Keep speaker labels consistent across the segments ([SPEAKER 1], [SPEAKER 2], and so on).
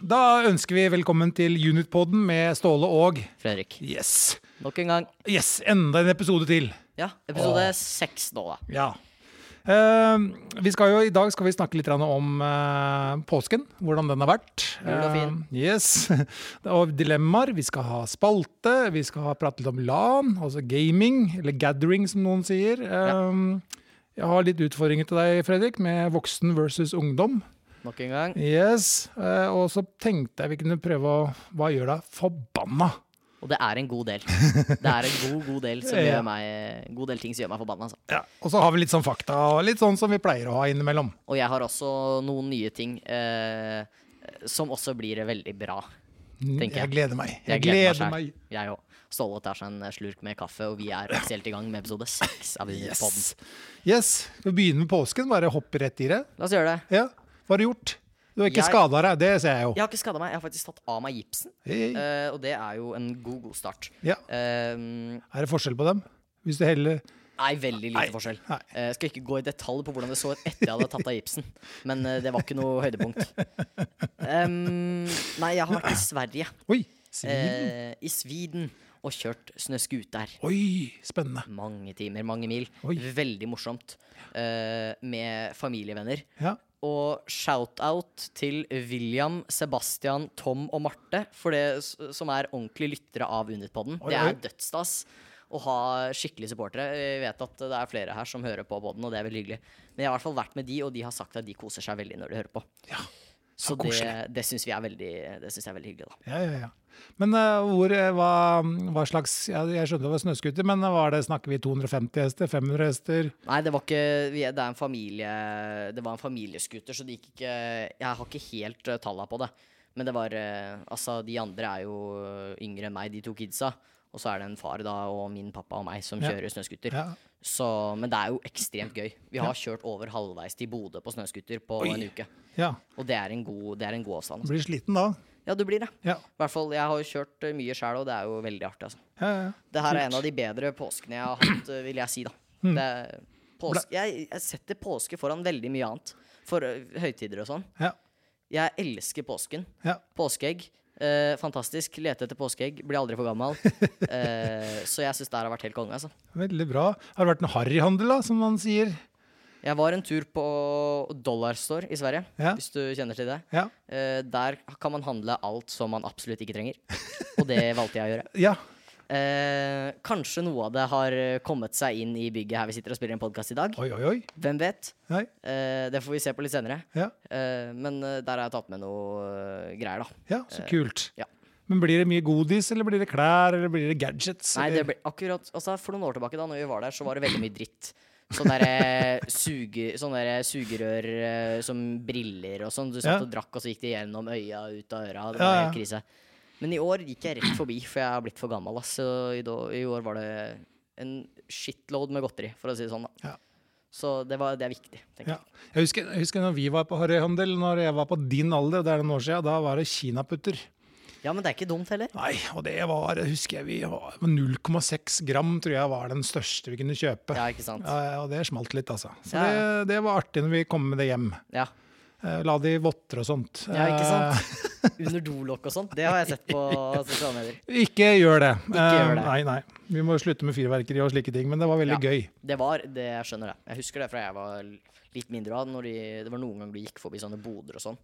[SPEAKER 1] Da ønsker vi velkommen til Unitpodden med Ståle og
[SPEAKER 2] Fredrik.
[SPEAKER 1] Yes!
[SPEAKER 2] Nok en gang.
[SPEAKER 1] Yes, Enda en episode til.
[SPEAKER 2] Ja, episode seks nå, da.
[SPEAKER 1] Ja. Eh, vi skal jo, I dag skal vi snakke litt grann om eh, påsken, hvordan den har vært.
[SPEAKER 2] Jul og fin.
[SPEAKER 1] Eh, yes. Og dilemmaer. Vi skal ha spalte, vi skal ha prate litt om LAN, altså gaming, eller gathering som noen sier. Eh, Jeg har litt utfordringer til deg, Fredrik, med voksen versus ungdom.
[SPEAKER 2] Nok en gang.
[SPEAKER 1] Yes. Eh, og så tenkte jeg vi kunne prøve å Hva gjør deg forbanna?
[SPEAKER 2] Og det er en god del. Det er en god, god del som
[SPEAKER 1] Ja.
[SPEAKER 2] gjør meg God del ting som gjør meg forbanna. Altså.
[SPEAKER 1] Ja. Og så har vi litt sånn fakta, og litt sånn som vi pleier å ha innimellom.
[SPEAKER 2] Og jeg har også noen nye ting eh, som også blir veldig bra.
[SPEAKER 1] Jeg.
[SPEAKER 2] Tenker jeg.
[SPEAKER 1] gleder meg. Jeg, gleder meg.
[SPEAKER 2] selv. Jeg òg. Ståle tar seg en eh, slurk med kaffe, og vi er offisielt i gang med episode seks av Unipodden.
[SPEAKER 1] Yes. yes. Vi begynner med påsken, bare hoppe rett i det.
[SPEAKER 2] La oss gjøre det.
[SPEAKER 1] Ja. Hva har du gjort? Du har ikke
[SPEAKER 2] Jeg-
[SPEAKER 1] skada deg, det ser jeg jo.
[SPEAKER 2] Jeg har ikke skada meg. Jeg har faktisk tatt av meg gipsen,
[SPEAKER 1] Hei, hei.
[SPEAKER 2] eh, og det er jo en god, god start.
[SPEAKER 1] Ja.
[SPEAKER 2] Eh,
[SPEAKER 1] Er det forskjell på dem? Hvis du heller
[SPEAKER 2] Nei, veldig lite
[SPEAKER 1] Nei,
[SPEAKER 2] forskjell.
[SPEAKER 1] nei.
[SPEAKER 2] Eh, skal ikke gå i detalj på hvordan det så ut etter jeg hadde tatt av gipsen, men eh, det var ikke noe høydepunkt. Em, nei, jeg har vært i Sverige,
[SPEAKER 1] Oi! Svin.
[SPEAKER 2] eh, i Sviden, og kjørt snøscooter.
[SPEAKER 1] Oi, spennende.
[SPEAKER 2] Mange timer, mange mil.
[SPEAKER 1] Oi.
[SPEAKER 2] Veldig morsomt. eh, med familievenner.
[SPEAKER 1] Ja.
[SPEAKER 2] Og shout-out til William, Sebastian, Tom og Marte, for det s- som er ordentlige lyttere av Unitpodden.
[SPEAKER 1] Oi,
[SPEAKER 2] Det
[SPEAKER 1] oi.
[SPEAKER 2] er dødsstas å ha skikkelige supportere. Jeg vet at det er flere her som hører på podden, og det er veldig hyggelig. Men jeg har i hvert fall vært med de, og de har sagt at de koser seg veldig når de hører på.
[SPEAKER 1] Ja.
[SPEAKER 2] Så det,
[SPEAKER 1] koselig.
[SPEAKER 2] det syns vi er veldig, det synes jeg er veldig hyggelig, da.
[SPEAKER 1] Ja, ja, ja. Men eh, hvor, eh, hva, hva slags ja, Jeg skjønte det var snøscooter, men var det, snakker vi 250 hester? 500 hester?
[SPEAKER 2] Nei, det var ikke vi er- Det er en familie Det var en familieskuter, så det gikk ikke Jeg har ikke helt uh, talla på det. Men det var eh, Altså, de andre er jo eh, yngre enn meg, de to kidsa. Og så er det en far da, og min pappa og meg som
[SPEAKER 1] Ja.
[SPEAKER 2] kjører snøskuter.
[SPEAKER 1] Ja.
[SPEAKER 2] Så, men det er jo ekstremt gøy. Vi har kjørt over halvveis til Bodø på snøskuter på en uke.
[SPEAKER 1] ja.
[SPEAKER 2] Og det er en god, det er en god avstand. Altså.
[SPEAKER 1] Blir sliten da.
[SPEAKER 2] Ja, du blir det.
[SPEAKER 1] Ja.
[SPEAKER 2] I hvert fall, jeg har jo kjørt eh, mye sjæl, og det er jo veldig artig, altså.
[SPEAKER 1] Ja, ja, ja.
[SPEAKER 2] Det her er en av de bedre påskene jeg har hatt, øh, vil jeg si, da. Det er pås- jeg, jeg setter påske foran veldig mye annet. For øh, høytider og sånn.
[SPEAKER 1] Ja,
[SPEAKER 2] Jeg elsker påsken.
[SPEAKER 1] ja.
[SPEAKER 2] Påskeegg. eh, fantastisk. Lete etter påskeegg. Blir aldri for gammel. Eh, så jeg syns det her har vært helt konge, altså.
[SPEAKER 1] Veldig bra. Har det vært en harryhandel, da, som man sier?
[SPEAKER 2] Jeg var en tur på Dollarstore i Sverige,
[SPEAKER 1] Ja.
[SPEAKER 2] hvis du kjenner til det.
[SPEAKER 1] Ja.
[SPEAKER 2] Eh, der kan man handle alt som man absolutt ikke trenger. Og det valgte jeg å gjøre.
[SPEAKER 1] ja.
[SPEAKER 2] Eh, kanskje noe av det har eh, kommet seg inn i bygget her vi sitter og spiller en podkast i dag.
[SPEAKER 1] Oi, oi, oi.
[SPEAKER 2] Hvem vet?
[SPEAKER 1] Nei.
[SPEAKER 2] Eh, det får vi se på litt senere.
[SPEAKER 1] Ja.
[SPEAKER 2] Eh, men eh, der har jeg tatt med noe eh, greier, da.
[SPEAKER 1] Ja, så kult.
[SPEAKER 2] ja.
[SPEAKER 1] Men blir det mye godis, eller blir det klær, eller blir det gadgets?
[SPEAKER 2] Nei, det
[SPEAKER 1] eller-
[SPEAKER 2] ble akkurat altså, For noen år tilbake, da når vi var der, så var det veldig mye dritt. Sånne derre suge, sånne derre sugerør eh, som briller og sånn. Du satt
[SPEAKER 1] Ja.
[SPEAKER 2] og drakk, og så gikk det gjennom øya og ut av øra. Det var
[SPEAKER 1] Ja,
[SPEAKER 2] helt krise. Men i år gikk jeg rett forbi, for jeg har blitt for gammel. ass. Så i, da, I år var det en shitload med godteri, for å si det sånn. da
[SPEAKER 1] Ja.
[SPEAKER 2] Så det, var, det er viktig, tenker
[SPEAKER 1] ja. jeg, husker, jeg husker når vi var på harryhandel, når jeg var på din alder, og det er noen år siden, da var det kinaputter.
[SPEAKER 2] jeg. Ja, men det er ikke dumt heller.
[SPEAKER 1] Nei, og det var, husker jeg, vi var 0,6 gram tror jeg var den største vi kunne kjøpe.
[SPEAKER 2] Ja, ikke sant?
[SPEAKER 1] Ja, ja, og det smalt litt, altså. Så
[SPEAKER 2] Ja,
[SPEAKER 1] det, det var artig når vi kom med det hjem.
[SPEAKER 2] Ja.
[SPEAKER 1] Eh, La de votter og sånt.
[SPEAKER 2] Ja, ikke
[SPEAKER 1] Eh,
[SPEAKER 2] sant? Under dolokk og sånt. Det har jeg sett på sosiale medier.
[SPEAKER 1] Ikke gjør det.
[SPEAKER 2] gjør
[SPEAKER 1] Eh,
[SPEAKER 2] det.
[SPEAKER 1] Nei, nei. Vi må slutte med fyrverkeri og slike ting, men det var veldig
[SPEAKER 2] Ja.
[SPEAKER 1] gøy.
[SPEAKER 2] Det var det, jeg skjønner det. Jeg husker det fra jeg var litt mindre av. Når de, det var noen ganger du gikk forbi sånne boder og sånn,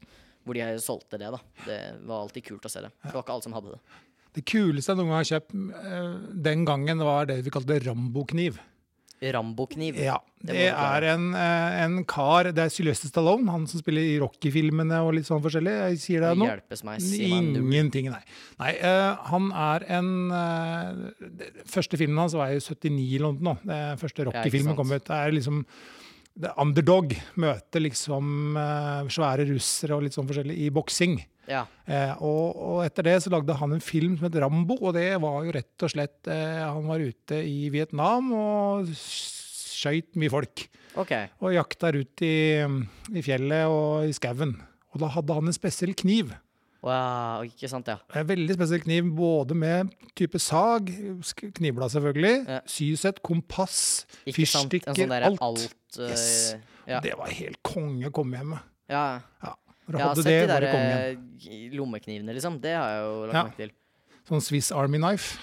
[SPEAKER 2] hvor de solgte det, da. Det var alltid kult å se det. Det var ikke alle som hadde det.
[SPEAKER 1] Det kuleste jeg noen gang har kjøpt eh, den gangen, var det vi kalte Rambo-kniv.
[SPEAKER 2] Rambokniv.
[SPEAKER 1] Ja,
[SPEAKER 2] Det må
[SPEAKER 1] det
[SPEAKER 2] du
[SPEAKER 1] er
[SPEAKER 2] forklare.
[SPEAKER 1] en, eh, en kar Det er Sylvester Stallone, han som spiller i Rocky-filmene og litt sånn forskjellig. Jeg sier det nå.
[SPEAKER 2] Hjelpes meg, si meg en null.
[SPEAKER 1] Ingenting, nei. nei eh, han er en eh, det- Første filmen hans var i 79 eller noe. sånt nå. Det første Rocky-filmen
[SPEAKER 2] sant.
[SPEAKER 1] kom ut. Det er liksom det er underdog møter liksom eh, svære russere og litt sånn forskjellig i boksing.
[SPEAKER 2] Ja.
[SPEAKER 1] Eh, og, og etter det så lagde han en film som het Rambo, og det var jo rett og slett eh, Han var ute i Vietnam og skøyt mye folk.
[SPEAKER 2] OK.
[SPEAKER 1] Og jakta rundt i, i fjellet og i skauen. Og da hadde han en spesiell kniv.
[SPEAKER 2] Wow, ikke sant, ja.
[SPEAKER 1] En veldig spesiell kniv, både med type sag, sk- knivblad selvfølgelig,
[SPEAKER 2] Ja.
[SPEAKER 1] sysett, kompass,
[SPEAKER 2] Ikke sant? En
[SPEAKER 1] fyrstikker,
[SPEAKER 2] sånn derre
[SPEAKER 1] alt.
[SPEAKER 2] alt. øh,
[SPEAKER 1] Yes.
[SPEAKER 2] ja.
[SPEAKER 1] Det var helt konge å komme hjem med.
[SPEAKER 2] ja.
[SPEAKER 1] Ja. For
[SPEAKER 2] Jeg har
[SPEAKER 1] hadde
[SPEAKER 2] sett
[SPEAKER 1] det,
[SPEAKER 2] de
[SPEAKER 1] var det
[SPEAKER 2] der
[SPEAKER 1] kongen.
[SPEAKER 2] eh, lommeknivene, liksom. Det har jeg jo lagt
[SPEAKER 1] Ja.
[SPEAKER 2] merke til.
[SPEAKER 1] Sånn Swiss Army Knife.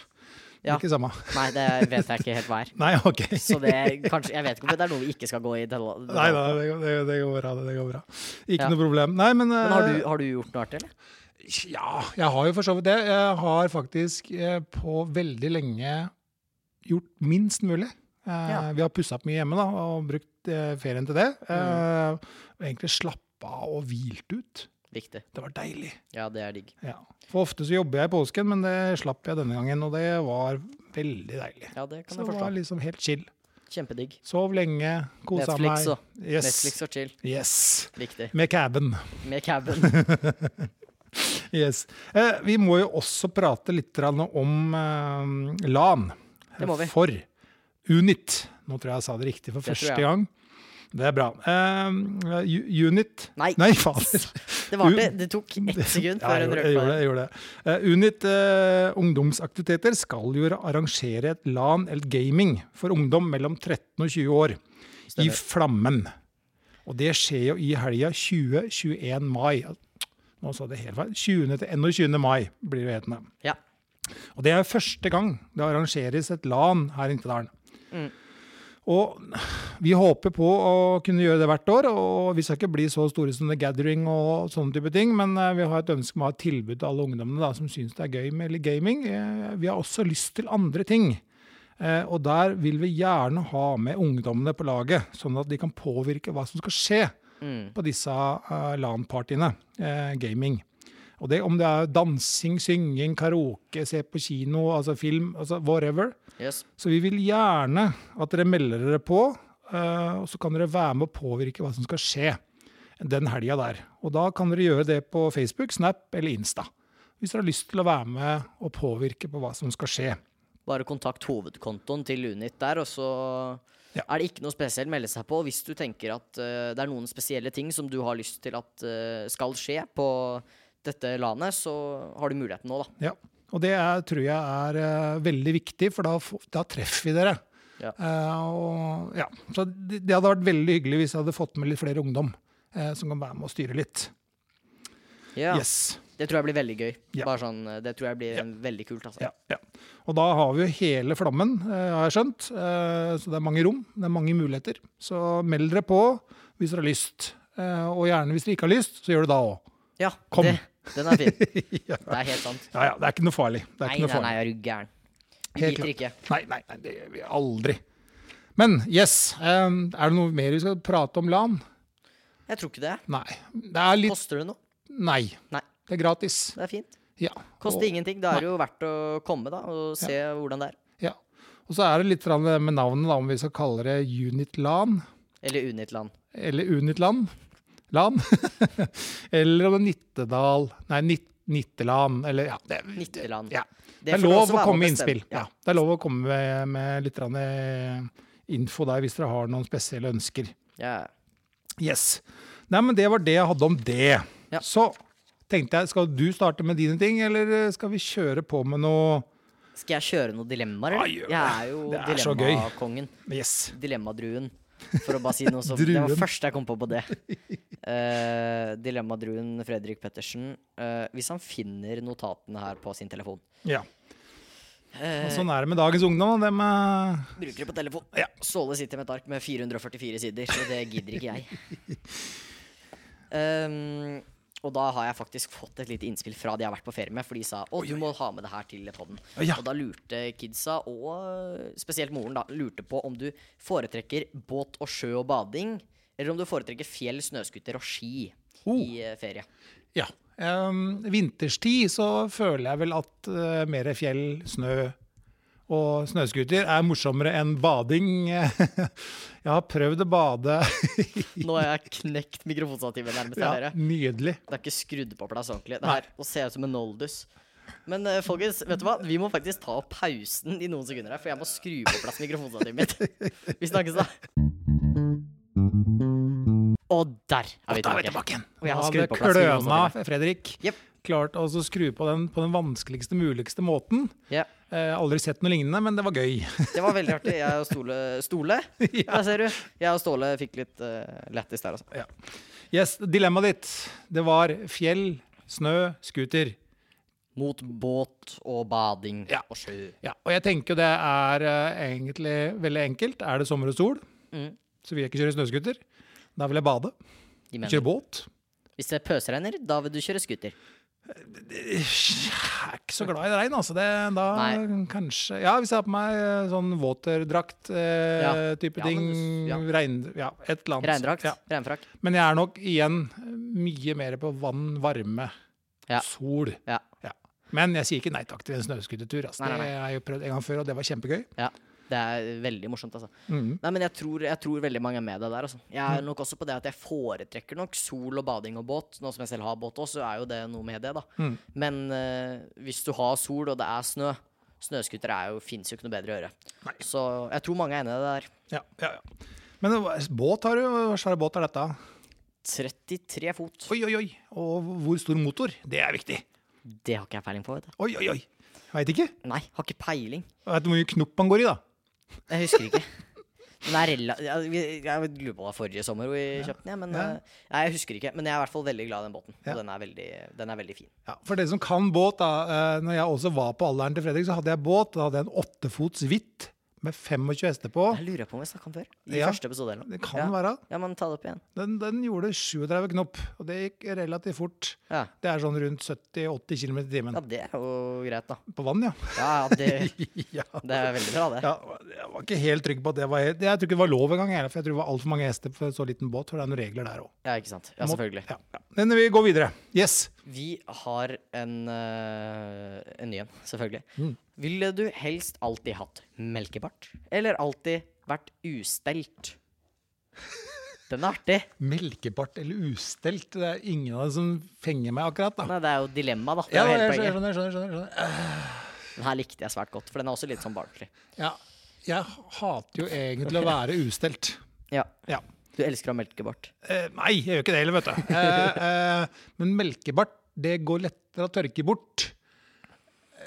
[SPEAKER 1] Det
[SPEAKER 2] Ja.
[SPEAKER 1] er Ikke samme.
[SPEAKER 2] Nei, det vet jeg ikke helt hva er.
[SPEAKER 1] Nei, OK.
[SPEAKER 2] Så det kanskje Jeg vet ikke om det er noe vi ikke skal gå i. detalj-
[SPEAKER 1] Nei da, det, går- det, det går bra. Det går bra. Ikke
[SPEAKER 2] Ja.
[SPEAKER 1] noe problem. Nei, men,
[SPEAKER 2] Men har
[SPEAKER 1] eh,
[SPEAKER 2] du, har du gjort noe artig, eller?
[SPEAKER 1] Ja, jeg har jo for så vidt det. Jeg har faktisk eh, på veldig lenge gjort minst mulig. Eh,
[SPEAKER 2] Ja. Mm.
[SPEAKER 1] Vi har pussa opp mye hjemme da, og brukt eh, ferien til det. Eh, og egentlig slappa av og hvilt ut.
[SPEAKER 2] Viktig.
[SPEAKER 1] Det var deilig.
[SPEAKER 2] Ja, det er digg.
[SPEAKER 1] Ja. For ofte så jobber jeg i påsken, men det slapp jeg denne gangen, og det var veldig deilig.
[SPEAKER 2] Ja, det kan
[SPEAKER 1] Så
[SPEAKER 2] jeg
[SPEAKER 1] det var
[SPEAKER 2] forstå.
[SPEAKER 1] liksom helt chill.
[SPEAKER 2] Kjempedigg.
[SPEAKER 1] Sov lenge, kosa meg.
[SPEAKER 2] Netflix og
[SPEAKER 1] Yes.
[SPEAKER 2] Netflix og chill.
[SPEAKER 1] Yes.
[SPEAKER 2] Viktig.
[SPEAKER 1] Med caben.
[SPEAKER 2] Med caben.
[SPEAKER 1] Yes. Eh, vi må jo også prate litt grann om eh, LAN.
[SPEAKER 2] Det må vi.
[SPEAKER 1] For Unit. Nå tror jeg jeg sa det riktig for
[SPEAKER 2] Det tror
[SPEAKER 1] første
[SPEAKER 2] jeg.
[SPEAKER 1] gang. Det er bra. Eh, U- Unit
[SPEAKER 2] Nei.
[SPEAKER 1] fader.
[SPEAKER 2] Det varte. Det tok ett sekund
[SPEAKER 1] Ja,
[SPEAKER 2] før
[SPEAKER 1] jeg
[SPEAKER 2] hun
[SPEAKER 1] gjorde,
[SPEAKER 2] rørte
[SPEAKER 1] jeg gjorde det.
[SPEAKER 2] på det.
[SPEAKER 1] Jeg gjorde det. Eh, Unit eh, ungdomsaktiviteter skal jo arrangere et LAN eller gaming for ungdom mellom 13 og 20 år i
[SPEAKER 2] Stemmer.
[SPEAKER 1] Flammen. Og det skjer jo i helga 20-21 mai. Nå sa jeg det helt feil. 20. til 21. mai blir det hetende.
[SPEAKER 2] Ja.
[SPEAKER 1] Og det er første gang det arrangeres et LAN her i Interdalen.
[SPEAKER 2] Mm.
[SPEAKER 1] Og vi håper på å kunne gjøre det hvert år, og vi skal ikke bli så store som The Gathering og sånne type ting, men eh, vi har et ønske om å ha et tilbud til alle ungdommene da, som syns det er gøy med litt gaming. Eh, Vi har også lyst til andre ting. Eh, Og der vil vi gjerne ha med ungdommene på laget, sånn at de kan påvirke hva som skal skje
[SPEAKER 2] Mm.
[SPEAKER 1] på disse eh, LAN-partiene, eh, gaming. Og det, om det er dansing, synging, karaoke, se på kino, altså film, altså whatever.
[SPEAKER 2] Yes.
[SPEAKER 1] Så vi vil gjerne at dere melder dere på, eh, og så kan dere være med å påvirke hva som skal skje den helga der. Og da kan dere gjøre det på Facebook, Snap eller Insta. Hvis dere har lyst til å være med og påvirke på hva som skal skje.
[SPEAKER 2] Bare kontakt hovedkontoen til Unit der, og så
[SPEAKER 1] Ja.
[SPEAKER 2] er det ikke noe spesielt å melde seg på. Hvis du tenker at eh, det er noen spesielle ting som du har lyst til at eh, skal skje på dette landet, så har du muligheten nå, da.
[SPEAKER 1] Ja, og det er, tror jeg er eh, veldig viktig, for da, f- da treffer vi dere.
[SPEAKER 2] Ja.
[SPEAKER 1] Eh, og, ja. Så det, det hadde vært veldig hyggelig hvis jeg hadde fått med litt flere ungdom eh, som kan være med og styre litt.
[SPEAKER 2] Ja.
[SPEAKER 1] Yes.
[SPEAKER 2] Det tror jeg blir veldig gøy.
[SPEAKER 1] Ja.
[SPEAKER 2] Bare sånn, eh, det tror jeg blir
[SPEAKER 1] Ja.
[SPEAKER 2] en- veldig kult, altså.
[SPEAKER 1] Ja, ja. Og da har vi jo hele flammen, eh, har jeg skjønt. Eh, så det er mange rom, det er mange muligheter. Så meld dere på hvis dere har lyst. Eh, og gjerne hvis dere ikke har lyst, så gjør det da òg.
[SPEAKER 2] Ja,
[SPEAKER 1] Kom.
[SPEAKER 2] Det, den er fin.
[SPEAKER 1] ja.
[SPEAKER 2] Det er helt sant.
[SPEAKER 1] ja, ja, det er ikke noe farlig. Det er
[SPEAKER 2] Nei,
[SPEAKER 1] ikke
[SPEAKER 2] nei,
[SPEAKER 1] noe farlig.
[SPEAKER 2] nei, jeg er du gæren. Vi
[SPEAKER 1] Helt
[SPEAKER 2] biter ikke.
[SPEAKER 1] Nei, nei, nei, det gjør vi aldri. Men yes, eh, er det noe mer vi skal prate om LAN?
[SPEAKER 2] Jeg tror ikke det.
[SPEAKER 1] Nei. Det er litt
[SPEAKER 2] Koster det noe?
[SPEAKER 1] Nei.
[SPEAKER 2] Nei.
[SPEAKER 1] Det er gratis.
[SPEAKER 2] Det er fint.
[SPEAKER 1] Ja.
[SPEAKER 2] Koster
[SPEAKER 1] Og-
[SPEAKER 2] ingenting. Da er det jo verdt å komme, da, og se hvordan det er.
[SPEAKER 1] Ja. Og så er det litt grann det med navnet, da, om vi skal kalle det Unit LAN
[SPEAKER 2] Eller Unitland.
[SPEAKER 1] eller Unit LAN. LAN. eller om det er Nittedal Nei, Nit Nitteland, eller ja. Det,
[SPEAKER 2] Nitteland.
[SPEAKER 1] ja.
[SPEAKER 2] Det
[SPEAKER 1] det er
[SPEAKER 2] får du
[SPEAKER 1] lov
[SPEAKER 2] også
[SPEAKER 1] å
[SPEAKER 2] være
[SPEAKER 1] komme med
[SPEAKER 2] med å bestemme.
[SPEAKER 1] innspill. Ja. Det er lov å komme med, med litt grann, eh, info der hvis dere har noen spesielle ønsker.
[SPEAKER 2] Ja.
[SPEAKER 1] Yes. Nei, men det var det jeg hadde om det.
[SPEAKER 2] Ja.
[SPEAKER 1] Så tenkte jeg, skal du starte med dine ting, eller eh, skal vi kjøre på med noe
[SPEAKER 2] Skal jeg kjøre noen dilemmaer?
[SPEAKER 1] Ja,
[SPEAKER 2] eller?
[SPEAKER 1] gjør det.
[SPEAKER 2] Jeg er jo
[SPEAKER 1] Det er så
[SPEAKER 2] dilemmakongen.
[SPEAKER 1] Yes.
[SPEAKER 2] Dilemmadruen. For å bare si noe som Det var
[SPEAKER 1] Druen.
[SPEAKER 2] første jeg kom på på det. Eh, dilemmadruen Fredrik Pettersen. eh, hvis han finner notatene her på sin telefon
[SPEAKER 1] Ja.
[SPEAKER 2] Eh.
[SPEAKER 1] Og sånn er det med dagens ungdom. da. Det med
[SPEAKER 2] Bruker det på telefon.
[SPEAKER 1] Ja.
[SPEAKER 2] Ståle sitter med et ark med 444 sider, så det gidder ikke jeg. Ehm, og da har jeg faktisk fått et lite innspill fra de jeg har vært på ferie med, for de sa å, du må ha med det her til podden.
[SPEAKER 1] Ja.
[SPEAKER 2] Og da lurte kidsa, og eh, spesielt moren, da, lurte på om du foretrekker båt og sjø og bading, eller om du foretrekker fjell, snøskuter og ski
[SPEAKER 1] Oh.
[SPEAKER 2] i eh, ferie.
[SPEAKER 1] Ja. Em, vinterstid så føler jeg vel at eh, mer fjell, snø og snøscooter er morsommere enn bading. jeg har prøvd å bade.
[SPEAKER 2] Nå har jeg knekt mikrofonstativet nærmest av
[SPEAKER 1] ja,
[SPEAKER 2] dere.
[SPEAKER 1] nydelig.
[SPEAKER 2] Det er ikke skrudd på plass ordentlig. Det her, og ser ut som en oldus. Men eh, folkens, vet du hva? vi må faktisk ta pausen i noen sekunder her, for jeg må skru på plass mikrofonstativet mitt. Vi snakkes da. Og der er vi
[SPEAKER 1] Da er vi
[SPEAKER 2] tilbake.
[SPEAKER 1] tilbake igjen.
[SPEAKER 2] Og jeg har
[SPEAKER 1] Da
[SPEAKER 2] skrudd
[SPEAKER 1] hadde
[SPEAKER 2] på plass
[SPEAKER 1] kløna
[SPEAKER 2] mikrofonstativet.
[SPEAKER 1] Fredrik
[SPEAKER 2] Jepp.
[SPEAKER 1] klart å skru på den på den vanskeligste muligste måten.
[SPEAKER 2] Ja,
[SPEAKER 1] Eh, aldri sett noe lignende, men det var gøy.
[SPEAKER 2] det var veldig artig. Jeg og Stole Stole, der ser du. Jeg og Ståle fikk litt eh, lættis der, altså.
[SPEAKER 1] Yes, dilemmaet ditt. Det var fjell, snø, scooter.
[SPEAKER 2] Mot båt og bading
[SPEAKER 1] Ja.
[SPEAKER 2] og sjø.
[SPEAKER 1] Ja, og jeg tenker det er eh, egentlig veldig enkelt. Er det sommer og sol,
[SPEAKER 2] Mm.
[SPEAKER 1] så vil jeg ikke kjøre snøscooter. Da vil jeg bade.
[SPEAKER 2] De mener.
[SPEAKER 1] Kjøre båt.
[SPEAKER 2] Hvis det pøsregner, da vil du kjøre scooter.
[SPEAKER 1] Jeg er ikke så glad i regn, altså. Det, da
[SPEAKER 2] Nei.
[SPEAKER 1] kanskje Ja, hvis jeg har på meg eh, sånn våterdrakt-type eh,
[SPEAKER 2] Ja.
[SPEAKER 1] type
[SPEAKER 2] Ja,
[SPEAKER 1] ting.
[SPEAKER 2] men du- ja.
[SPEAKER 1] Regn... Ja, et eller annet.
[SPEAKER 2] Regndrakt.
[SPEAKER 1] Ja.
[SPEAKER 2] Regnfrakk.
[SPEAKER 1] Men jeg er nok igjen eh, mye mer på vann, varme,
[SPEAKER 2] Ja.
[SPEAKER 1] sol.
[SPEAKER 2] Ja.
[SPEAKER 1] Ja. Men jeg sier ikke nei takk til en snøscootertur. Altså.
[SPEAKER 2] Nei, nei, nei.
[SPEAKER 1] Det har jeg jo prøvd en gang før, og det var kjempegøy.
[SPEAKER 2] ja. Det er veldig morsomt, altså.
[SPEAKER 1] Mhm.
[SPEAKER 2] Nei, men jeg tror, jeg tror veldig mange er med deg der, altså. Jeg er nok også på det at jeg foretrekker nok sol og bading og båt. Nå som jeg selv har båt også, så er jo det noe med det, da.
[SPEAKER 1] Mm.
[SPEAKER 2] Men eh, hvis du har sol og det er snø, snøskuter er jo, fins jo ikke noe bedre å gjøre.
[SPEAKER 1] Nei.
[SPEAKER 2] Så jeg tror mange er enig i det der.
[SPEAKER 1] Ja, ja, ja. Men det var- båt har du. Hva slags båt er dette?
[SPEAKER 2] 33 fot.
[SPEAKER 1] Oi, oi, oi. Og hvor stor motor? Det er viktig.
[SPEAKER 2] Det har ikke jeg peiling på, vet du.
[SPEAKER 1] Oi, oi, oi. Veit ikke.
[SPEAKER 2] Nei, har ikke peiling.
[SPEAKER 1] Veit du hvor mye knopp man går i, da?
[SPEAKER 2] Jeg husker ikke. Den er rela jeg, jeg, jeg lurer på om det var forrige sommer hvor vi kjøpte den, ja, men
[SPEAKER 1] Ja.
[SPEAKER 2] eh, Nei, jeg husker ikke. Men jeg er i hvert fall veldig glad i den båten.
[SPEAKER 1] Ja.
[SPEAKER 2] Og den er veldig, den er veldig fin.
[SPEAKER 1] Ja, for dere som kan båt, da. eh, Når jeg også var på alderen til Fredrik, så hadde jeg båt. Da hadde jeg en åttefots hvitt med 25 hester på.
[SPEAKER 2] Jeg lurer på om vi snakka om før. I
[SPEAKER 1] Ja.
[SPEAKER 2] første episode eller noe.
[SPEAKER 1] Det kan
[SPEAKER 2] ja.
[SPEAKER 1] være.
[SPEAKER 2] Ja, men ta det opp igjen.
[SPEAKER 1] Den, den gjorde 37 knop, og det gikk relativt fort.
[SPEAKER 2] Ja.
[SPEAKER 1] Det er sånn rundt 70-80 km i timen.
[SPEAKER 2] ja, det er jo greit, da.
[SPEAKER 1] På vann, ja.
[SPEAKER 2] Ja, ja, det,
[SPEAKER 1] ja.
[SPEAKER 2] det er veldig bra, det.
[SPEAKER 1] Ja, jeg var ikke helt trygg på at det var helt, Jeg tror ikke det var lov engang, jeg, for jeg tror det var altfor mange hester for en så liten båt. For det er noen regler der òg.
[SPEAKER 2] Ja, ikke sant. Ja, selvfølgelig.
[SPEAKER 1] Ja, ja. Men vi går videre. Yes.
[SPEAKER 2] Vi har en, eh, en ny en, selvfølgelig.
[SPEAKER 1] Mm.
[SPEAKER 2] Ville du helst alltid hatt melkebart, eller alltid vært ustelt? Den er artig.
[SPEAKER 1] Melkebart eller ustelt, det er ingen av dem som fenger meg akkurat, da.
[SPEAKER 2] Nei, det er jo dilemma, da. Det
[SPEAKER 1] Ja,
[SPEAKER 2] er jo
[SPEAKER 1] jeg
[SPEAKER 2] hele
[SPEAKER 1] skjønner,
[SPEAKER 2] poenget.
[SPEAKER 1] skjønner, skjønner, skjønner.
[SPEAKER 2] Den her likte jeg svært godt, for den er også litt sånn barnslig.
[SPEAKER 1] Ja, jeg hater jo egentlig å være ustelt.
[SPEAKER 2] Ja.
[SPEAKER 1] Ja.
[SPEAKER 2] Du elsker å ha melkebart.
[SPEAKER 1] Eh, nei, jeg gjør ikke det heller, vet du. Eh, eh, men melkebart, det går lettere å tørke bort.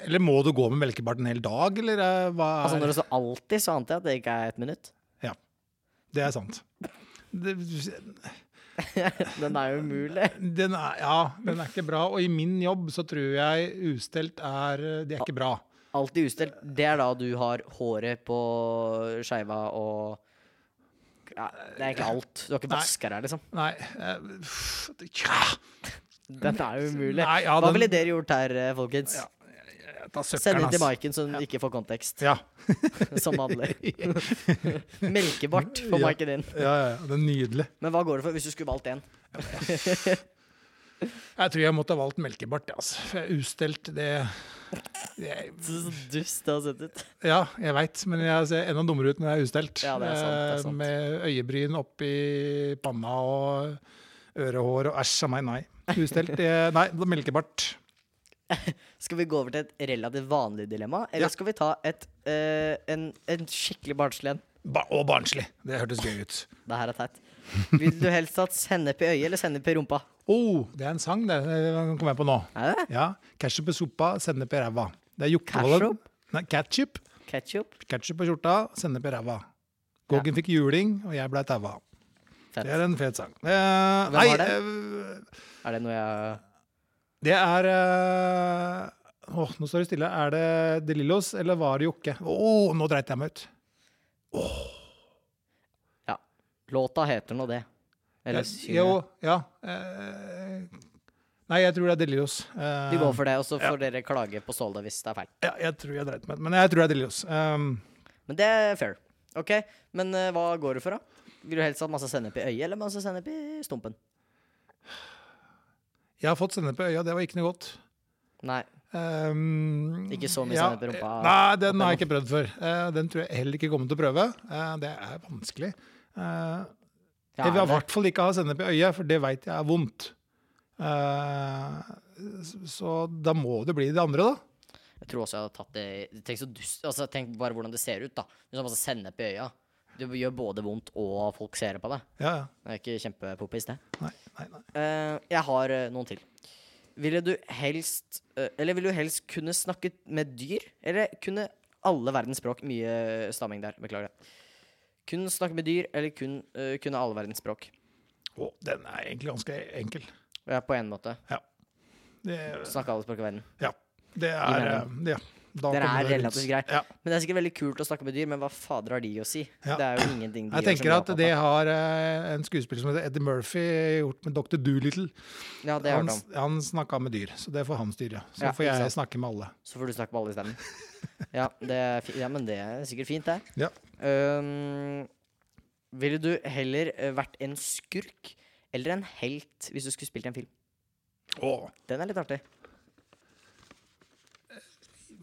[SPEAKER 1] Eller må du gå med melkebart en hel dag, eller eh, hva er
[SPEAKER 2] Altså, når det står alltid, så ante jeg at det ikke er et minutt.
[SPEAKER 1] Ja, det er sant. Det,
[SPEAKER 2] Den er jo umulig.
[SPEAKER 1] den er, ja, den er ikke bra. Og i min jobb så tror jeg ustelt er eh, Det er ikke bra.
[SPEAKER 2] Alltid ustelt. Det er da du har håret på skeiva og ja, Det er egentlig alt. Du har ikke
[SPEAKER 1] Nei.
[SPEAKER 2] vasker her, liksom.
[SPEAKER 1] Nei eh, pff, ja,
[SPEAKER 2] Den er jo umulig.
[SPEAKER 1] Nei, ja,
[SPEAKER 2] Hva
[SPEAKER 1] den-
[SPEAKER 2] ville dere gjort her, eh, folkens?
[SPEAKER 1] jeg tar
[SPEAKER 2] Send
[SPEAKER 1] søkkeren,
[SPEAKER 2] inn til
[SPEAKER 1] ass.
[SPEAKER 2] Maiken, så hun ikke får kontekst,
[SPEAKER 1] Ja.
[SPEAKER 2] som vanlig. Melkebart får
[SPEAKER 1] Ja.
[SPEAKER 2] Maiken inn.
[SPEAKER 1] Ja, ja, ja, det er nydelig.
[SPEAKER 2] Men hva går det for hvis du skulle valgt én?
[SPEAKER 1] Jeg tror jeg måtte ha valgt melkebart. ja, Altså. For Ustelt, det, det
[SPEAKER 2] Så dust det har sett ut.
[SPEAKER 1] Ja, jeg veit, men jeg ser enda dummere ut når jeg er ustelt.
[SPEAKER 2] Ja, det er sant, det er
[SPEAKER 1] Eh,
[SPEAKER 2] sant.
[SPEAKER 1] Med øyebryn oppi panna og ørehår og æsj a meg, nei. Ustelt, eh, nei, det er melkebart.
[SPEAKER 2] Skal vi gå over til et relativt vanlig dilemma, eller
[SPEAKER 1] Ja.
[SPEAKER 2] skal vi ta et, eh, en, en skikkelig barnslig en?
[SPEAKER 1] Ba og barnslig. Det hørtes gøy ut.
[SPEAKER 2] Det her er teit. Vil du helst hatt sennep i øyet eller sennep i rumpa?
[SPEAKER 1] Oh, det er en sang, det. Den kommer jeg på nå.
[SPEAKER 2] Er det?
[SPEAKER 1] Ja, Ketchup i sopa, sennep i ræva. Det er Jokkevollen.
[SPEAKER 2] Ketchup?
[SPEAKER 1] Nei, ketchup.
[SPEAKER 2] Ketchup?
[SPEAKER 1] Ketchup på skjorta, sennep i ræva. Gågen fikk juling, og jeg blei taua.
[SPEAKER 2] Fett.
[SPEAKER 1] Det er en fet sang. Eh,
[SPEAKER 2] Hvem
[SPEAKER 1] nei,
[SPEAKER 2] var det?
[SPEAKER 1] eh,
[SPEAKER 2] Er det noe jeg
[SPEAKER 1] Det er eh, Åh, nå står det stille. Er det De Lillos, eller var det Jokke? Åh, nå dreit jeg meg ut.
[SPEAKER 2] Ja. Låta heter nå det. Eller
[SPEAKER 1] Jeg-
[SPEAKER 2] synger
[SPEAKER 1] jo,
[SPEAKER 2] jeg.
[SPEAKER 1] ja. eh, nei, jeg tror det er De Lillos. Eh,
[SPEAKER 2] Vi går for det, og så får dere klage på Ståle hvis det er feil.
[SPEAKER 1] ja, jeg tror jeg dreit meg ut, men jeg tror det er De Lillos. Um,
[SPEAKER 2] Men det er fair. OK, men eh, hva går du for, da? Vil du helst ha masse sennep i øyet eller masse sennep i stumpen?
[SPEAKER 1] jeg har fått sennep på øya, det var ikke noe godt.
[SPEAKER 2] Nei.
[SPEAKER 1] Um,
[SPEAKER 2] Ikke så mye sennep i rumpa.
[SPEAKER 1] Nei, den har jeg ikke prøvd før. Eh, den tror jeg heller ikke kommer til å prøve. Eh, det er vanskelig. Eh,
[SPEAKER 2] Ja,
[SPEAKER 1] jeg vil i
[SPEAKER 2] er det?
[SPEAKER 1] hvert fall ikke ha sennep i øyet, for det veit jeg er vondt. Eh, s- så da må det bli det andre, da.
[SPEAKER 2] Jeg tror også jeg hadde tatt det Tenk så dust altså, Tenk bare hvordan det ser ut, da. Du har masse sennep i øya. Det gjør både vondt, og folk ser på deg.
[SPEAKER 1] Ja, ja.
[SPEAKER 2] Det er ikke kjempepoppis, det.
[SPEAKER 1] Nei, nei, nei.
[SPEAKER 2] Eh, jeg har eh, noen til. Ville du helst eh, Eller vil du helst kunne snakke med dyr? Eller kunne alle verdens språk Mye stamming der, beklager det. Kun snakke med dyr, eller kun, eh, kunne alle eh, verdens språk?
[SPEAKER 1] Å, den er egentlig ganske enkel.
[SPEAKER 2] Ja, på en måte.
[SPEAKER 1] Det,
[SPEAKER 2] Snakke alle språk i verden.
[SPEAKER 1] det er eh, Ja. Da kommer
[SPEAKER 2] Den er
[SPEAKER 1] det rundt.
[SPEAKER 2] relativt grei.
[SPEAKER 1] Ja.
[SPEAKER 2] Men det er sikkert veldig kult å snakke med dyr, men hva fader har de å si?
[SPEAKER 1] Ja.
[SPEAKER 2] Det er jo ingenting
[SPEAKER 1] Jeg
[SPEAKER 2] de gjør som
[SPEAKER 1] tenker at
[SPEAKER 2] Japan
[SPEAKER 1] det
[SPEAKER 2] kan.
[SPEAKER 1] har eh, en skuespiller som heter Eddie Murphy gjort med Dr. Doolittle.
[SPEAKER 2] Ja, det har jeg
[SPEAKER 1] Han,
[SPEAKER 2] hørt om.
[SPEAKER 1] han snakka med dyr, så det får han styre. Så
[SPEAKER 2] Ja,
[SPEAKER 1] får
[SPEAKER 2] ikke
[SPEAKER 1] jeg snakke med alle.
[SPEAKER 2] Så får du snakke med alle i stemmen. Ja, det er fi ja men det er sikkert fint, det.
[SPEAKER 1] Ja.
[SPEAKER 2] Um, ville du heller eh, vært en skurk eller en helt hvis du skulle spilt i en film?
[SPEAKER 1] Åh.
[SPEAKER 2] Den er litt artig.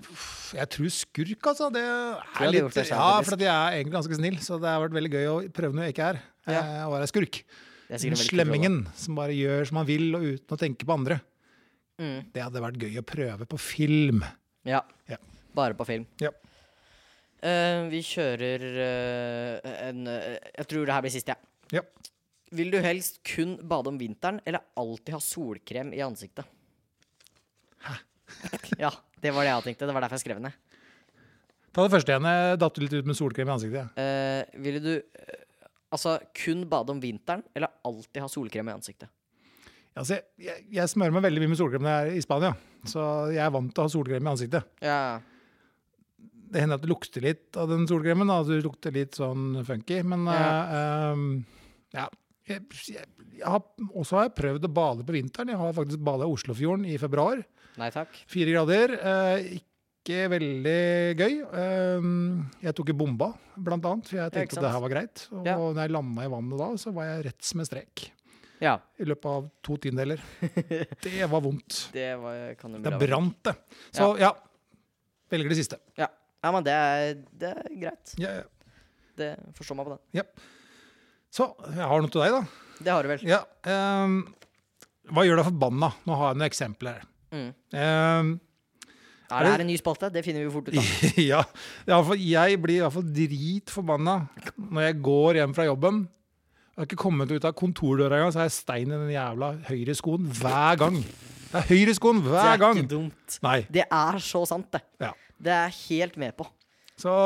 [SPEAKER 1] Pff, Jeg tror skurk, altså. Det
[SPEAKER 2] jeg
[SPEAKER 1] er
[SPEAKER 2] hadde gjort
[SPEAKER 1] litt
[SPEAKER 2] det selv,
[SPEAKER 1] Ja,
[SPEAKER 2] faktisk.
[SPEAKER 1] for at jeg er egentlig ganske snill, så det har vært veldig gøy å prøve noe jeg ikke er.
[SPEAKER 2] Ja.
[SPEAKER 1] eh, Å være skurk.
[SPEAKER 2] Det er sikkert
[SPEAKER 1] Den
[SPEAKER 2] en veldig kul
[SPEAKER 1] slemmingen som bare gjør som han vil, og uten å tenke på andre.
[SPEAKER 2] rolle. Mm,
[SPEAKER 1] Det hadde vært gøy å prøve på film.
[SPEAKER 2] ja.
[SPEAKER 1] Ja.
[SPEAKER 2] Bare på film.
[SPEAKER 1] Ja.
[SPEAKER 2] Eh, vi kjører eh, en eh, Jeg tror det her blir siste, jeg.
[SPEAKER 1] Ja.
[SPEAKER 2] Vil du helst kun bade om vinteren, eller alltid ha solkrem i ansiktet? Hæ? ja, det var det jeg tenkte. Det var derfor jeg skrev den ned.
[SPEAKER 1] Ta det første igjen. Jeg datt litt ut med solkrem i ansiktet. jeg.
[SPEAKER 2] Eh, ville du eh, altså kun bade om vinteren, eller alltid ha solkrem i ansiktet?
[SPEAKER 1] Altså, jeg, jeg smører meg veldig mye med solkrem når jeg er i Spania, så jeg er vant til å ha solkrem i ansiktet.
[SPEAKER 2] Ja.
[SPEAKER 1] det hender at det lukter litt av den solkremen. Da. Det lukter litt sånn funky. Men eh, ehm, ja. Jeg, jeg, jeg har, også har jeg prøvd å bade på vinteren. Jeg har faktisk bada i Oslofjorden i februar.
[SPEAKER 2] Nei takk.
[SPEAKER 1] Fire grader. eh, ikke veldig gøy. Ehm, jeg tok i bomba, blant annet, for jeg
[SPEAKER 2] Ja, ikke
[SPEAKER 1] tenkte at det her var greit. Og
[SPEAKER 2] Ja.
[SPEAKER 1] når jeg landa i vannet da, så var jeg rett som en strek.
[SPEAKER 2] Ja,
[SPEAKER 1] I løpet av to tiendedeler. Det var vondt.
[SPEAKER 2] det var, kan du
[SPEAKER 1] Det
[SPEAKER 2] mulig ha vært.
[SPEAKER 1] brant, det. Så ja. Velger det siste.
[SPEAKER 2] Ja. ja, men det er, det er greit.
[SPEAKER 1] Ja, ja.
[SPEAKER 2] Det forstår meg på den.
[SPEAKER 1] Så jeg har noe til deg, da.
[SPEAKER 2] Det har du vel.
[SPEAKER 1] Ja, ehm, hva gjør deg forbanna? Nå har jeg noen eksempler her.
[SPEAKER 2] Mm.
[SPEAKER 1] Ehm,
[SPEAKER 2] Er det her en ny spalte? Det finner vi jo fort ut av.
[SPEAKER 1] ja, i alle fall- jeg blir i hvert fall dritforbanna når jeg går hjem fra jobben. Jeg har ikke kommet ut av kontordøra engang, så har jeg stein i den jævla høyre skoen hver gang. Det er høyre skoen
[SPEAKER 2] Det
[SPEAKER 1] hver
[SPEAKER 2] er ikke
[SPEAKER 1] gang!
[SPEAKER 2] dumt.
[SPEAKER 1] Nei.
[SPEAKER 2] Det er så sant, det.
[SPEAKER 1] Ja.
[SPEAKER 2] Det er jeg helt med på.
[SPEAKER 1] Så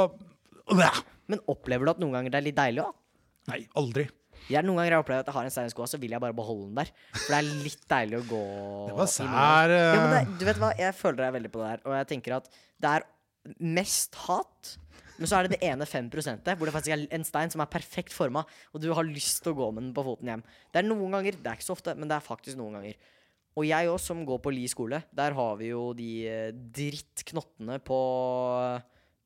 [SPEAKER 1] ja.
[SPEAKER 2] Men opplever du at noen ganger det er litt deilig òg?
[SPEAKER 1] Nei, aldri.
[SPEAKER 2] Jeg noen ganger har jeg opplevd at jeg har en stein i skoa, så vil jeg bare beholde den der. For det er litt deilig å gå
[SPEAKER 1] Det var
[SPEAKER 2] i morgen.
[SPEAKER 1] sær
[SPEAKER 2] Ja, men det,
[SPEAKER 1] eh,
[SPEAKER 2] du vet hva, jeg føler deg veldig på det der, og jeg tenker at det er mest hat. Men så er det det ene 5 hvor det faktisk er en stein som er perfekt forma, og du har lyst til å gå med den på foten hjem. Det er noen ganger, det er ikke så ofte, men det er faktisk noen ganger. Og jeg òg, som går på Li skole, der har vi jo de eh, drittknottene på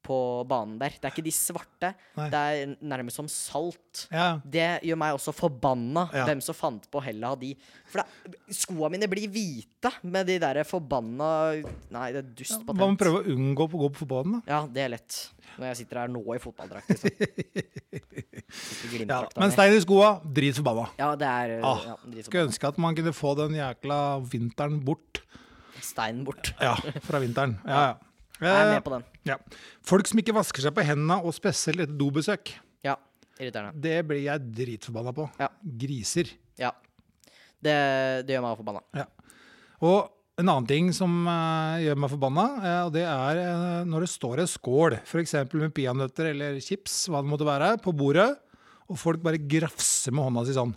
[SPEAKER 2] på banen der. Det er ikke de svarte.
[SPEAKER 1] Nei.
[SPEAKER 2] Det er nærmest som salt.
[SPEAKER 1] ja.
[SPEAKER 2] Det gjør meg også forbanna,
[SPEAKER 1] Ja.
[SPEAKER 2] hvem som fant på hella de. For da, skoa mine blir hvite med de der forbanna Nei, det er dust
[SPEAKER 1] Man må
[SPEAKER 2] patent.
[SPEAKER 1] prøve å unngå å gå på fotballen, da.
[SPEAKER 2] ja, det er lett. Når jeg sitter her nå i fotballdrakt, liksom. Sitter i
[SPEAKER 1] Ja,
[SPEAKER 2] Glimt-drakta
[SPEAKER 1] men
[SPEAKER 2] mi.
[SPEAKER 1] stein i skoa, dritforbanna.
[SPEAKER 2] Ja, det er
[SPEAKER 1] Ah,
[SPEAKER 2] ja, drit
[SPEAKER 1] Skulle
[SPEAKER 2] som-
[SPEAKER 1] ønske at man kunne få den jækla vinteren bort.
[SPEAKER 2] Steinen bort.
[SPEAKER 1] Ja, fra vinteren. Ja,
[SPEAKER 2] Jeg er
[SPEAKER 1] ja.
[SPEAKER 2] med på den.
[SPEAKER 1] Eh, ja. Folk som ikke vasker seg på hendene, og spesielt etter dobesøk,
[SPEAKER 2] Ja. Irriterende.
[SPEAKER 1] det blir jeg dritforbanna på.
[SPEAKER 2] Ja.
[SPEAKER 1] Griser.
[SPEAKER 2] Ja. Det, det gjør meg forbanna.
[SPEAKER 1] Og en annen ting som eh, gjør meg forbanna, eh, og det er eh, når det står en skål, f.eks. med peanøtter eller chips, hva det måtte være, på bordet, og folk bare grafser med hånda si sånn,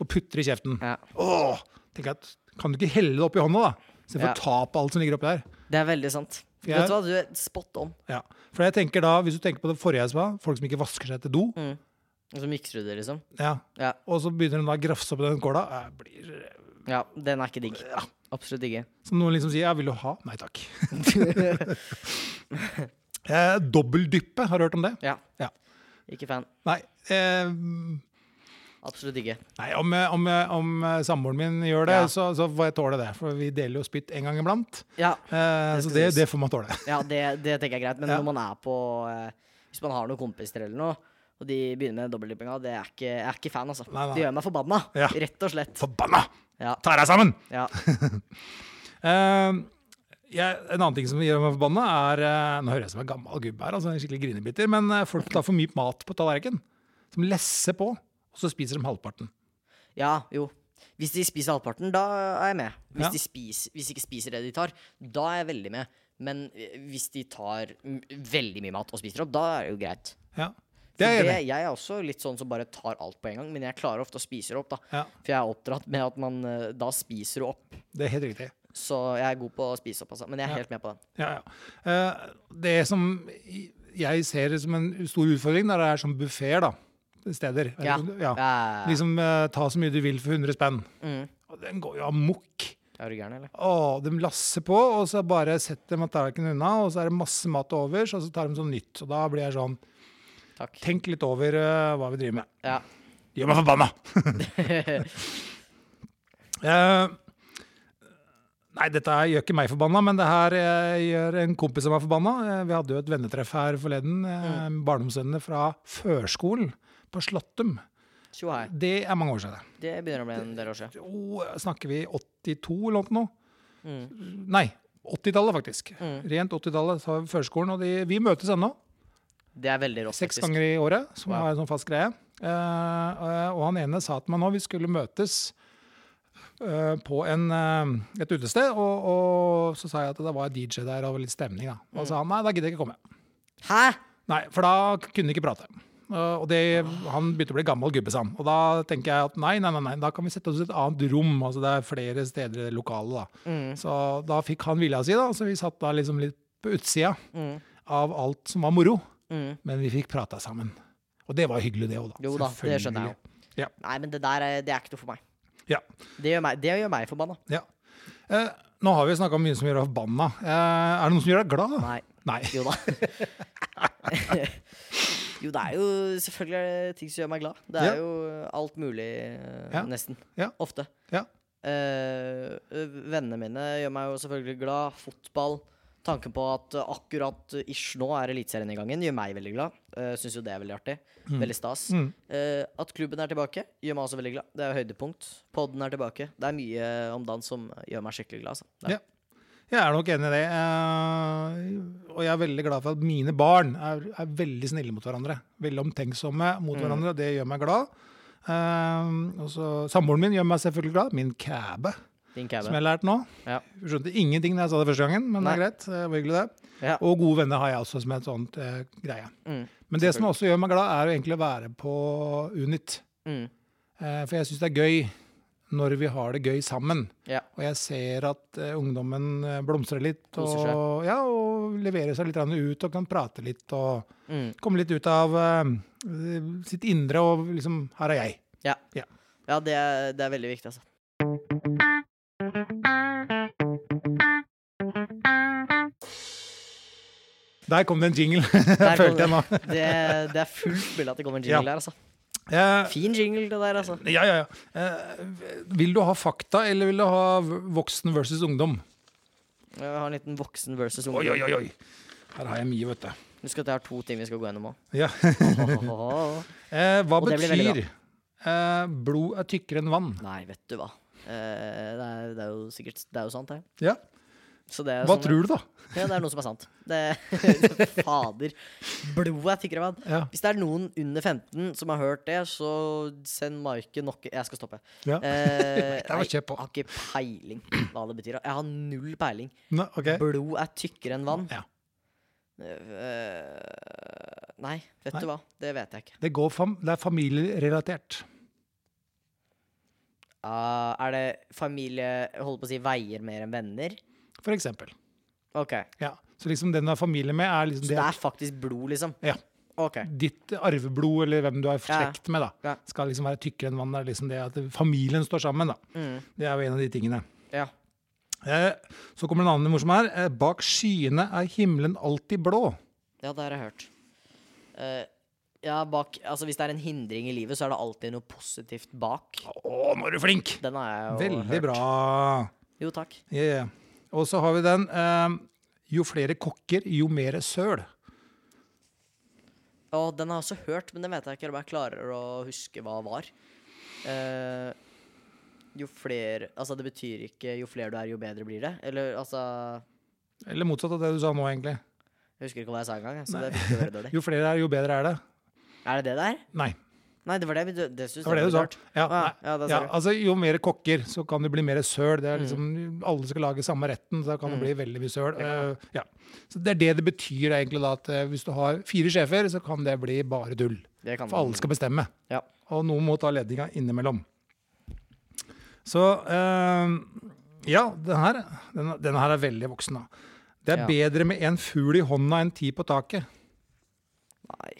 [SPEAKER 1] og putter i kjeften.
[SPEAKER 2] Ja.
[SPEAKER 1] Åh, tenker jeg at, kan du ikke helle det opp i hånda, da? I stedet for
[SPEAKER 2] Ja.
[SPEAKER 1] å ta på alt som ligger oppi der.
[SPEAKER 2] Det er veldig sant.
[SPEAKER 1] Jeg-
[SPEAKER 2] Vet du hva, du er spot on.
[SPEAKER 1] Ja, for jeg tenker da, Hvis du tenker på det forrige jeg sa, folk som ikke vasker seg etter do,
[SPEAKER 2] Og så mikser du det, liksom.
[SPEAKER 1] ja,
[SPEAKER 2] Ja.
[SPEAKER 1] og så begynner de da å grafse opp i den kåla jeg blir,
[SPEAKER 2] ja. Den er ikke digg. Absolutt ikke.
[SPEAKER 1] Som noen liksom sier 'jeg vil jo ha'. Nei takk. eh, dobbeldyppe, har du hørt om det?
[SPEAKER 2] Ja.
[SPEAKER 1] Ja.
[SPEAKER 2] Ikke fan.
[SPEAKER 1] Nei. Eh,
[SPEAKER 2] Absolutt ikke.
[SPEAKER 1] nei om, om, om samboeren min gjør det,
[SPEAKER 2] Ja.
[SPEAKER 1] så, så får jeg tåle det. For vi deler jo spytt en gang iblant.
[SPEAKER 2] Ja,
[SPEAKER 1] Eh,
[SPEAKER 2] Det
[SPEAKER 1] så
[SPEAKER 2] skal
[SPEAKER 1] det,
[SPEAKER 2] sies.
[SPEAKER 1] det får man tåle.
[SPEAKER 2] ja det, det tenker jeg er greit, men
[SPEAKER 1] Ja.
[SPEAKER 2] når man er på eh, Hvis man har noen kompiser eller noe, og de begynner med dobbeltdyppinga, det er ikke, jeg er ikke fan, altså.
[SPEAKER 1] Nei, nei.
[SPEAKER 2] Det gjør meg forbanna,
[SPEAKER 1] Ja.
[SPEAKER 2] rett og slett.
[SPEAKER 1] Forbanna!
[SPEAKER 2] Ja.
[SPEAKER 1] Ta deg sammen!
[SPEAKER 2] Ja.
[SPEAKER 1] Eh, jeg, en annen ting som gjør meg forbanna, er eh, Nå høres jeg ut som en gammel gubbe her, altså en skikkelig grinebiter, men eh, folk tar for mye mat på tallerkenen. Som lesser på, og så spiser de halvparten.
[SPEAKER 2] ja, jo. Hvis de spiser halvparten, da er jeg med. Hvis
[SPEAKER 1] Ja.
[SPEAKER 2] de spiser, hvis de ikke spiser det de tar, da er jeg veldig med. Men eh, hvis de tar mm, veldig mye mat og spiser opp, da er det jo greit.
[SPEAKER 1] Ja. Det er jeg
[SPEAKER 2] For
[SPEAKER 1] enig i.
[SPEAKER 2] jeg er også litt sånn som bare tar alt på en gang, men jeg klarer ofte å spise det opp, da.
[SPEAKER 1] Ja,
[SPEAKER 2] For jeg er oppdratt med at man eh, da spiser du opp.
[SPEAKER 1] det er helt riktig.
[SPEAKER 2] Så jeg er god på å spise opp, altså. Men jeg er
[SPEAKER 1] Ja.
[SPEAKER 2] helt med på den.
[SPEAKER 1] Ja, ja. Eh, Det som i- jeg ser som en stor utfordring, der det er sånn buffeer, da. Steder.
[SPEAKER 2] Ja.
[SPEAKER 1] sånn? ja.
[SPEAKER 2] Ja.
[SPEAKER 1] Liksom eh, ta så mye du vil for 100 spenn.
[SPEAKER 2] Mm.
[SPEAKER 1] Og den går jo amok.
[SPEAKER 2] Er du gæren, eller?
[SPEAKER 1] Å, de lasser på, og så bare setter de tallerkenen unna, og så er det masse mat over, så tar de sånn nytt. Og da blir jeg sånn
[SPEAKER 2] Takk.
[SPEAKER 1] Tenk litt over eh, hva vi driver med.
[SPEAKER 2] Ja.
[SPEAKER 1] Gjør meg forbanna! Eh, nei, dette her gjør ikke meg forbanna, men det her eh, gjør en kompis av meg forbanna. Eh, vi hadde jo et vennetreff her forleden. eh, Barndomsvennene fra førskolen på Slottum.
[SPEAKER 2] Tjo hei.
[SPEAKER 1] Det er mange år siden.
[SPEAKER 2] Det begynner å bli en del år siden.
[SPEAKER 1] Jo, snakker vi 82 eller noe?
[SPEAKER 2] Mm.
[SPEAKER 1] Nei, 80-tallet faktisk.
[SPEAKER 2] Mm.
[SPEAKER 1] Rent 80-tallet, så har vi førskolen. Og de, vi møtes ennå.
[SPEAKER 2] Det er veldig rått,
[SPEAKER 1] Seks
[SPEAKER 2] faktisk.
[SPEAKER 1] ganger i året, som
[SPEAKER 2] Wow.
[SPEAKER 1] er en sånn fast greie. Eh, eh, og han ene sa til meg nå vi skulle møtes eh, på en, eh, et utested, og, og så sa jeg at det var DJ der og litt stemning. Da.
[SPEAKER 2] Mm.
[SPEAKER 1] Og så sa han nei, da gidder jeg ikke komme.
[SPEAKER 2] Hæ?!
[SPEAKER 1] Nei, For da kunne vi ikke prate. Eh, og det, Han begynte å bli gammel gubbe, sa han. Og da tenker jeg at nei, nei, nei, nei, da kan vi sette oss i et annet rom. altså Det er flere steder i det lokale. Da.
[SPEAKER 2] Mm.
[SPEAKER 1] Så da fikk han vilja si, da. Så vi satt da liksom litt på utsida
[SPEAKER 2] Mm.
[SPEAKER 1] av alt som var moro.
[SPEAKER 2] Mm.
[SPEAKER 1] Men vi fikk prata sammen. Og det var hyggelig, det òg, da.
[SPEAKER 2] Jo da, det skjønner jeg
[SPEAKER 1] Selvfølgelig.
[SPEAKER 2] Nei, men det der er, det er ikke noe for meg.
[SPEAKER 1] Ja.
[SPEAKER 2] Det gjør meg, det gjør meg forbanna.
[SPEAKER 1] Ja. Eh, nå har vi snakka om mye som gjør deg forbanna. Eh, er det noen som gjør deg glad?
[SPEAKER 2] Nei.
[SPEAKER 1] Nei.
[SPEAKER 2] Jo da. jo, det er jo selvfølgelig er det ting som gjør meg glad. Det
[SPEAKER 1] Ja.
[SPEAKER 2] er jo alt mulig, eh,
[SPEAKER 1] Ja.
[SPEAKER 2] nesten.
[SPEAKER 1] Ja.
[SPEAKER 2] Ofte.
[SPEAKER 1] Ja.
[SPEAKER 2] Eh, vennene mine gjør meg jo selvfølgelig glad. Fotball. Tanken på at eh, akkurat eh, ish nå er Eliteserien i gangen, gjør meg veldig glad. Uh, Syns jo det er veldig artig. Veldig stas.
[SPEAKER 1] Mm.
[SPEAKER 2] Eh, at klubben er tilbake, gjør meg også veldig glad. Det er høydepunkt. Podden er tilbake. Det er mye om dagen som gjør meg skikkelig glad. Altså. Det er-
[SPEAKER 1] Ja. Jeg er nok enig i det. Eh, og jeg er veldig glad for at mine barn er, er veldig snille mot hverandre. Veldig omtenksomme mot
[SPEAKER 2] Mm.
[SPEAKER 1] hverandre. Det gjør meg glad. Eh, og så- Samboeren min gjør meg selvfølgelig glad. Min kæbe, som
[SPEAKER 2] Din kæbe.
[SPEAKER 1] jeg har lært nå.
[SPEAKER 2] Ja.
[SPEAKER 1] Hun skjønte ingenting da jeg sa det første gangen, men det er greit. Det var hyggelig, det.
[SPEAKER 2] Ja.
[SPEAKER 1] Og gode venner har jeg også som et sånt eh, greie.
[SPEAKER 2] Mm.
[SPEAKER 1] Men det som også gjør meg glad, er jo egentlig å være på Unit.
[SPEAKER 2] Mm.
[SPEAKER 1] Eh, For jeg syns det er gøy når vi har det gøy sammen.
[SPEAKER 2] Ja.
[SPEAKER 1] Og jeg ser at eh, ungdommen eh, blomstrer litt
[SPEAKER 2] Koser seg.
[SPEAKER 1] og, ja, og leverer seg litt grann ut og kan prate litt og
[SPEAKER 2] Mm.
[SPEAKER 1] komme litt ut av eh, sitt indre og liksom Her er jeg.
[SPEAKER 2] Ja, det er, det er veldig viktig, altså.
[SPEAKER 1] Der kom det en jingle,
[SPEAKER 2] Der kom
[SPEAKER 1] følte jeg nå.
[SPEAKER 2] sånn- Det, det er fullt mulig at det kommer en jingle
[SPEAKER 1] Ja.
[SPEAKER 2] der, altså.
[SPEAKER 1] Eh,
[SPEAKER 2] Fin jingle, det der, altså.
[SPEAKER 1] Ja, ja, ja. Eh, Vil du ha fakta, eller vil du ha voksen versus ungdom?
[SPEAKER 2] Jeg har en liten voksen versus ung.
[SPEAKER 1] Oi, oi, oi, oi. Her har jeg mye, vet du.
[SPEAKER 2] Husk at jeg har to ting vi skal gå gjennom òg.
[SPEAKER 1] Ja. Eh, hva
[SPEAKER 2] Og det blir veldig
[SPEAKER 1] betyr eh, blod er tykkere enn vann?
[SPEAKER 2] Nei, vet du hva. Eh, det, er, det er jo sikkert Det er jo sant, det.
[SPEAKER 1] Ja.
[SPEAKER 2] Så det er
[SPEAKER 1] Hva
[SPEAKER 2] sånn-
[SPEAKER 1] tror du, da?
[SPEAKER 2] Ja, det er noe som er sant. Det, fader. Blodet er tykkere enn vann.
[SPEAKER 1] Ja.
[SPEAKER 2] Hvis det er noen under 15 som har hørt det, så send Maiken nok Jeg skal stoppe.
[SPEAKER 1] Ja.
[SPEAKER 2] Eh,
[SPEAKER 1] Det var
[SPEAKER 2] nei,
[SPEAKER 1] kjøp på.
[SPEAKER 2] jeg har ikke peiling hva det betyr. Jeg har null peiling.
[SPEAKER 1] Nå, ok.
[SPEAKER 2] Blod er tykkere enn vann.
[SPEAKER 1] Eh? Ja.
[SPEAKER 2] Eh, nei, vet
[SPEAKER 1] Nei.
[SPEAKER 2] du hva. Det vet jeg ikke.
[SPEAKER 1] Det, går fam det er familierelatert.
[SPEAKER 2] Ah, er det familie jeg holder på å si veier mer enn venner?
[SPEAKER 1] For eksempel.
[SPEAKER 2] OK.
[SPEAKER 1] Ja. Så liksom den du har familie med, er liksom
[SPEAKER 2] Så
[SPEAKER 1] det,
[SPEAKER 2] det er faktisk blod, liksom?
[SPEAKER 1] Ja.
[SPEAKER 2] OK.
[SPEAKER 1] ditt arveblod, eller hvem du er
[SPEAKER 2] Ja, ja.
[SPEAKER 1] slekt med, da.
[SPEAKER 2] Ja.
[SPEAKER 1] Skal liksom være tykkere enn vann. Det er liksom det at familien står sammen, da.
[SPEAKER 2] Mm,
[SPEAKER 1] Det er jo en av de tingene.
[SPEAKER 2] ja.
[SPEAKER 1] Eh, så kommer en annen morsom her. Eh, bak skyene er himmelen alltid blå.
[SPEAKER 2] Ja, det har jeg hørt. Eh, ja, bak, altså Hvis det er en hindring i livet, så er det alltid noe positivt bak.
[SPEAKER 1] Å, nå er du flink!
[SPEAKER 2] Den har jeg jo hørt.
[SPEAKER 1] Veldig bra.
[SPEAKER 2] Jo, takk.
[SPEAKER 1] Ja, ja. Og så har vi den eh, Jo flere kokker, jo mer søl.
[SPEAKER 2] Og den har jeg også hørt, men den vet jeg ikke om jeg klarer å huske hva var. Eh, jo flere Altså, det betyr ikke jo flere du er, jo bedre blir det. Eller altså
[SPEAKER 1] Eller motsatt av det du sa nå, egentlig.
[SPEAKER 2] Jeg husker ikke hva jeg sa engang, jeg, så det fikk jo veldig dårlig.
[SPEAKER 1] Jo flere er, jo bedre er det.
[SPEAKER 2] Er det det der?
[SPEAKER 1] Nei.
[SPEAKER 2] Nei, det var det, det, det synes
[SPEAKER 1] Det var det
[SPEAKER 2] jeg
[SPEAKER 1] du sa.
[SPEAKER 2] rart.
[SPEAKER 1] Ja,
[SPEAKER 2] Ah,
[SPEAKER 1] nei.
[SPEAKER 2] ja, da
[SPEAKER 1] ja,
[SPEAKER 2] sa du. Mm.
[SPEAKER 1] altså, jo mer kokker, så kan det bli mer søl. Det er liksom, Alle skal lage samme retten, så da kan det bli veldig mye søl. Eh, ja. Så Det er det det betyr egentlig, da, at eh, hvis du har fire sjefer, så kan det bli bare tull.
[SPEAKER 2] Det kan
[SPEAKER 1] For alle skal bestemme.
[SPEAKER 2] Mm. Ja.
[SPEAKER 1] Og noen må ta ledninga innimellom. Så eh, Ja, den her, den, den her er veldig voksen, da. Det er
[SPEAKER 2] Ja.
[SPEAKER 1] bedre med en fugl i hånda enn ti på taket.
[SPEAKER 2] Nei.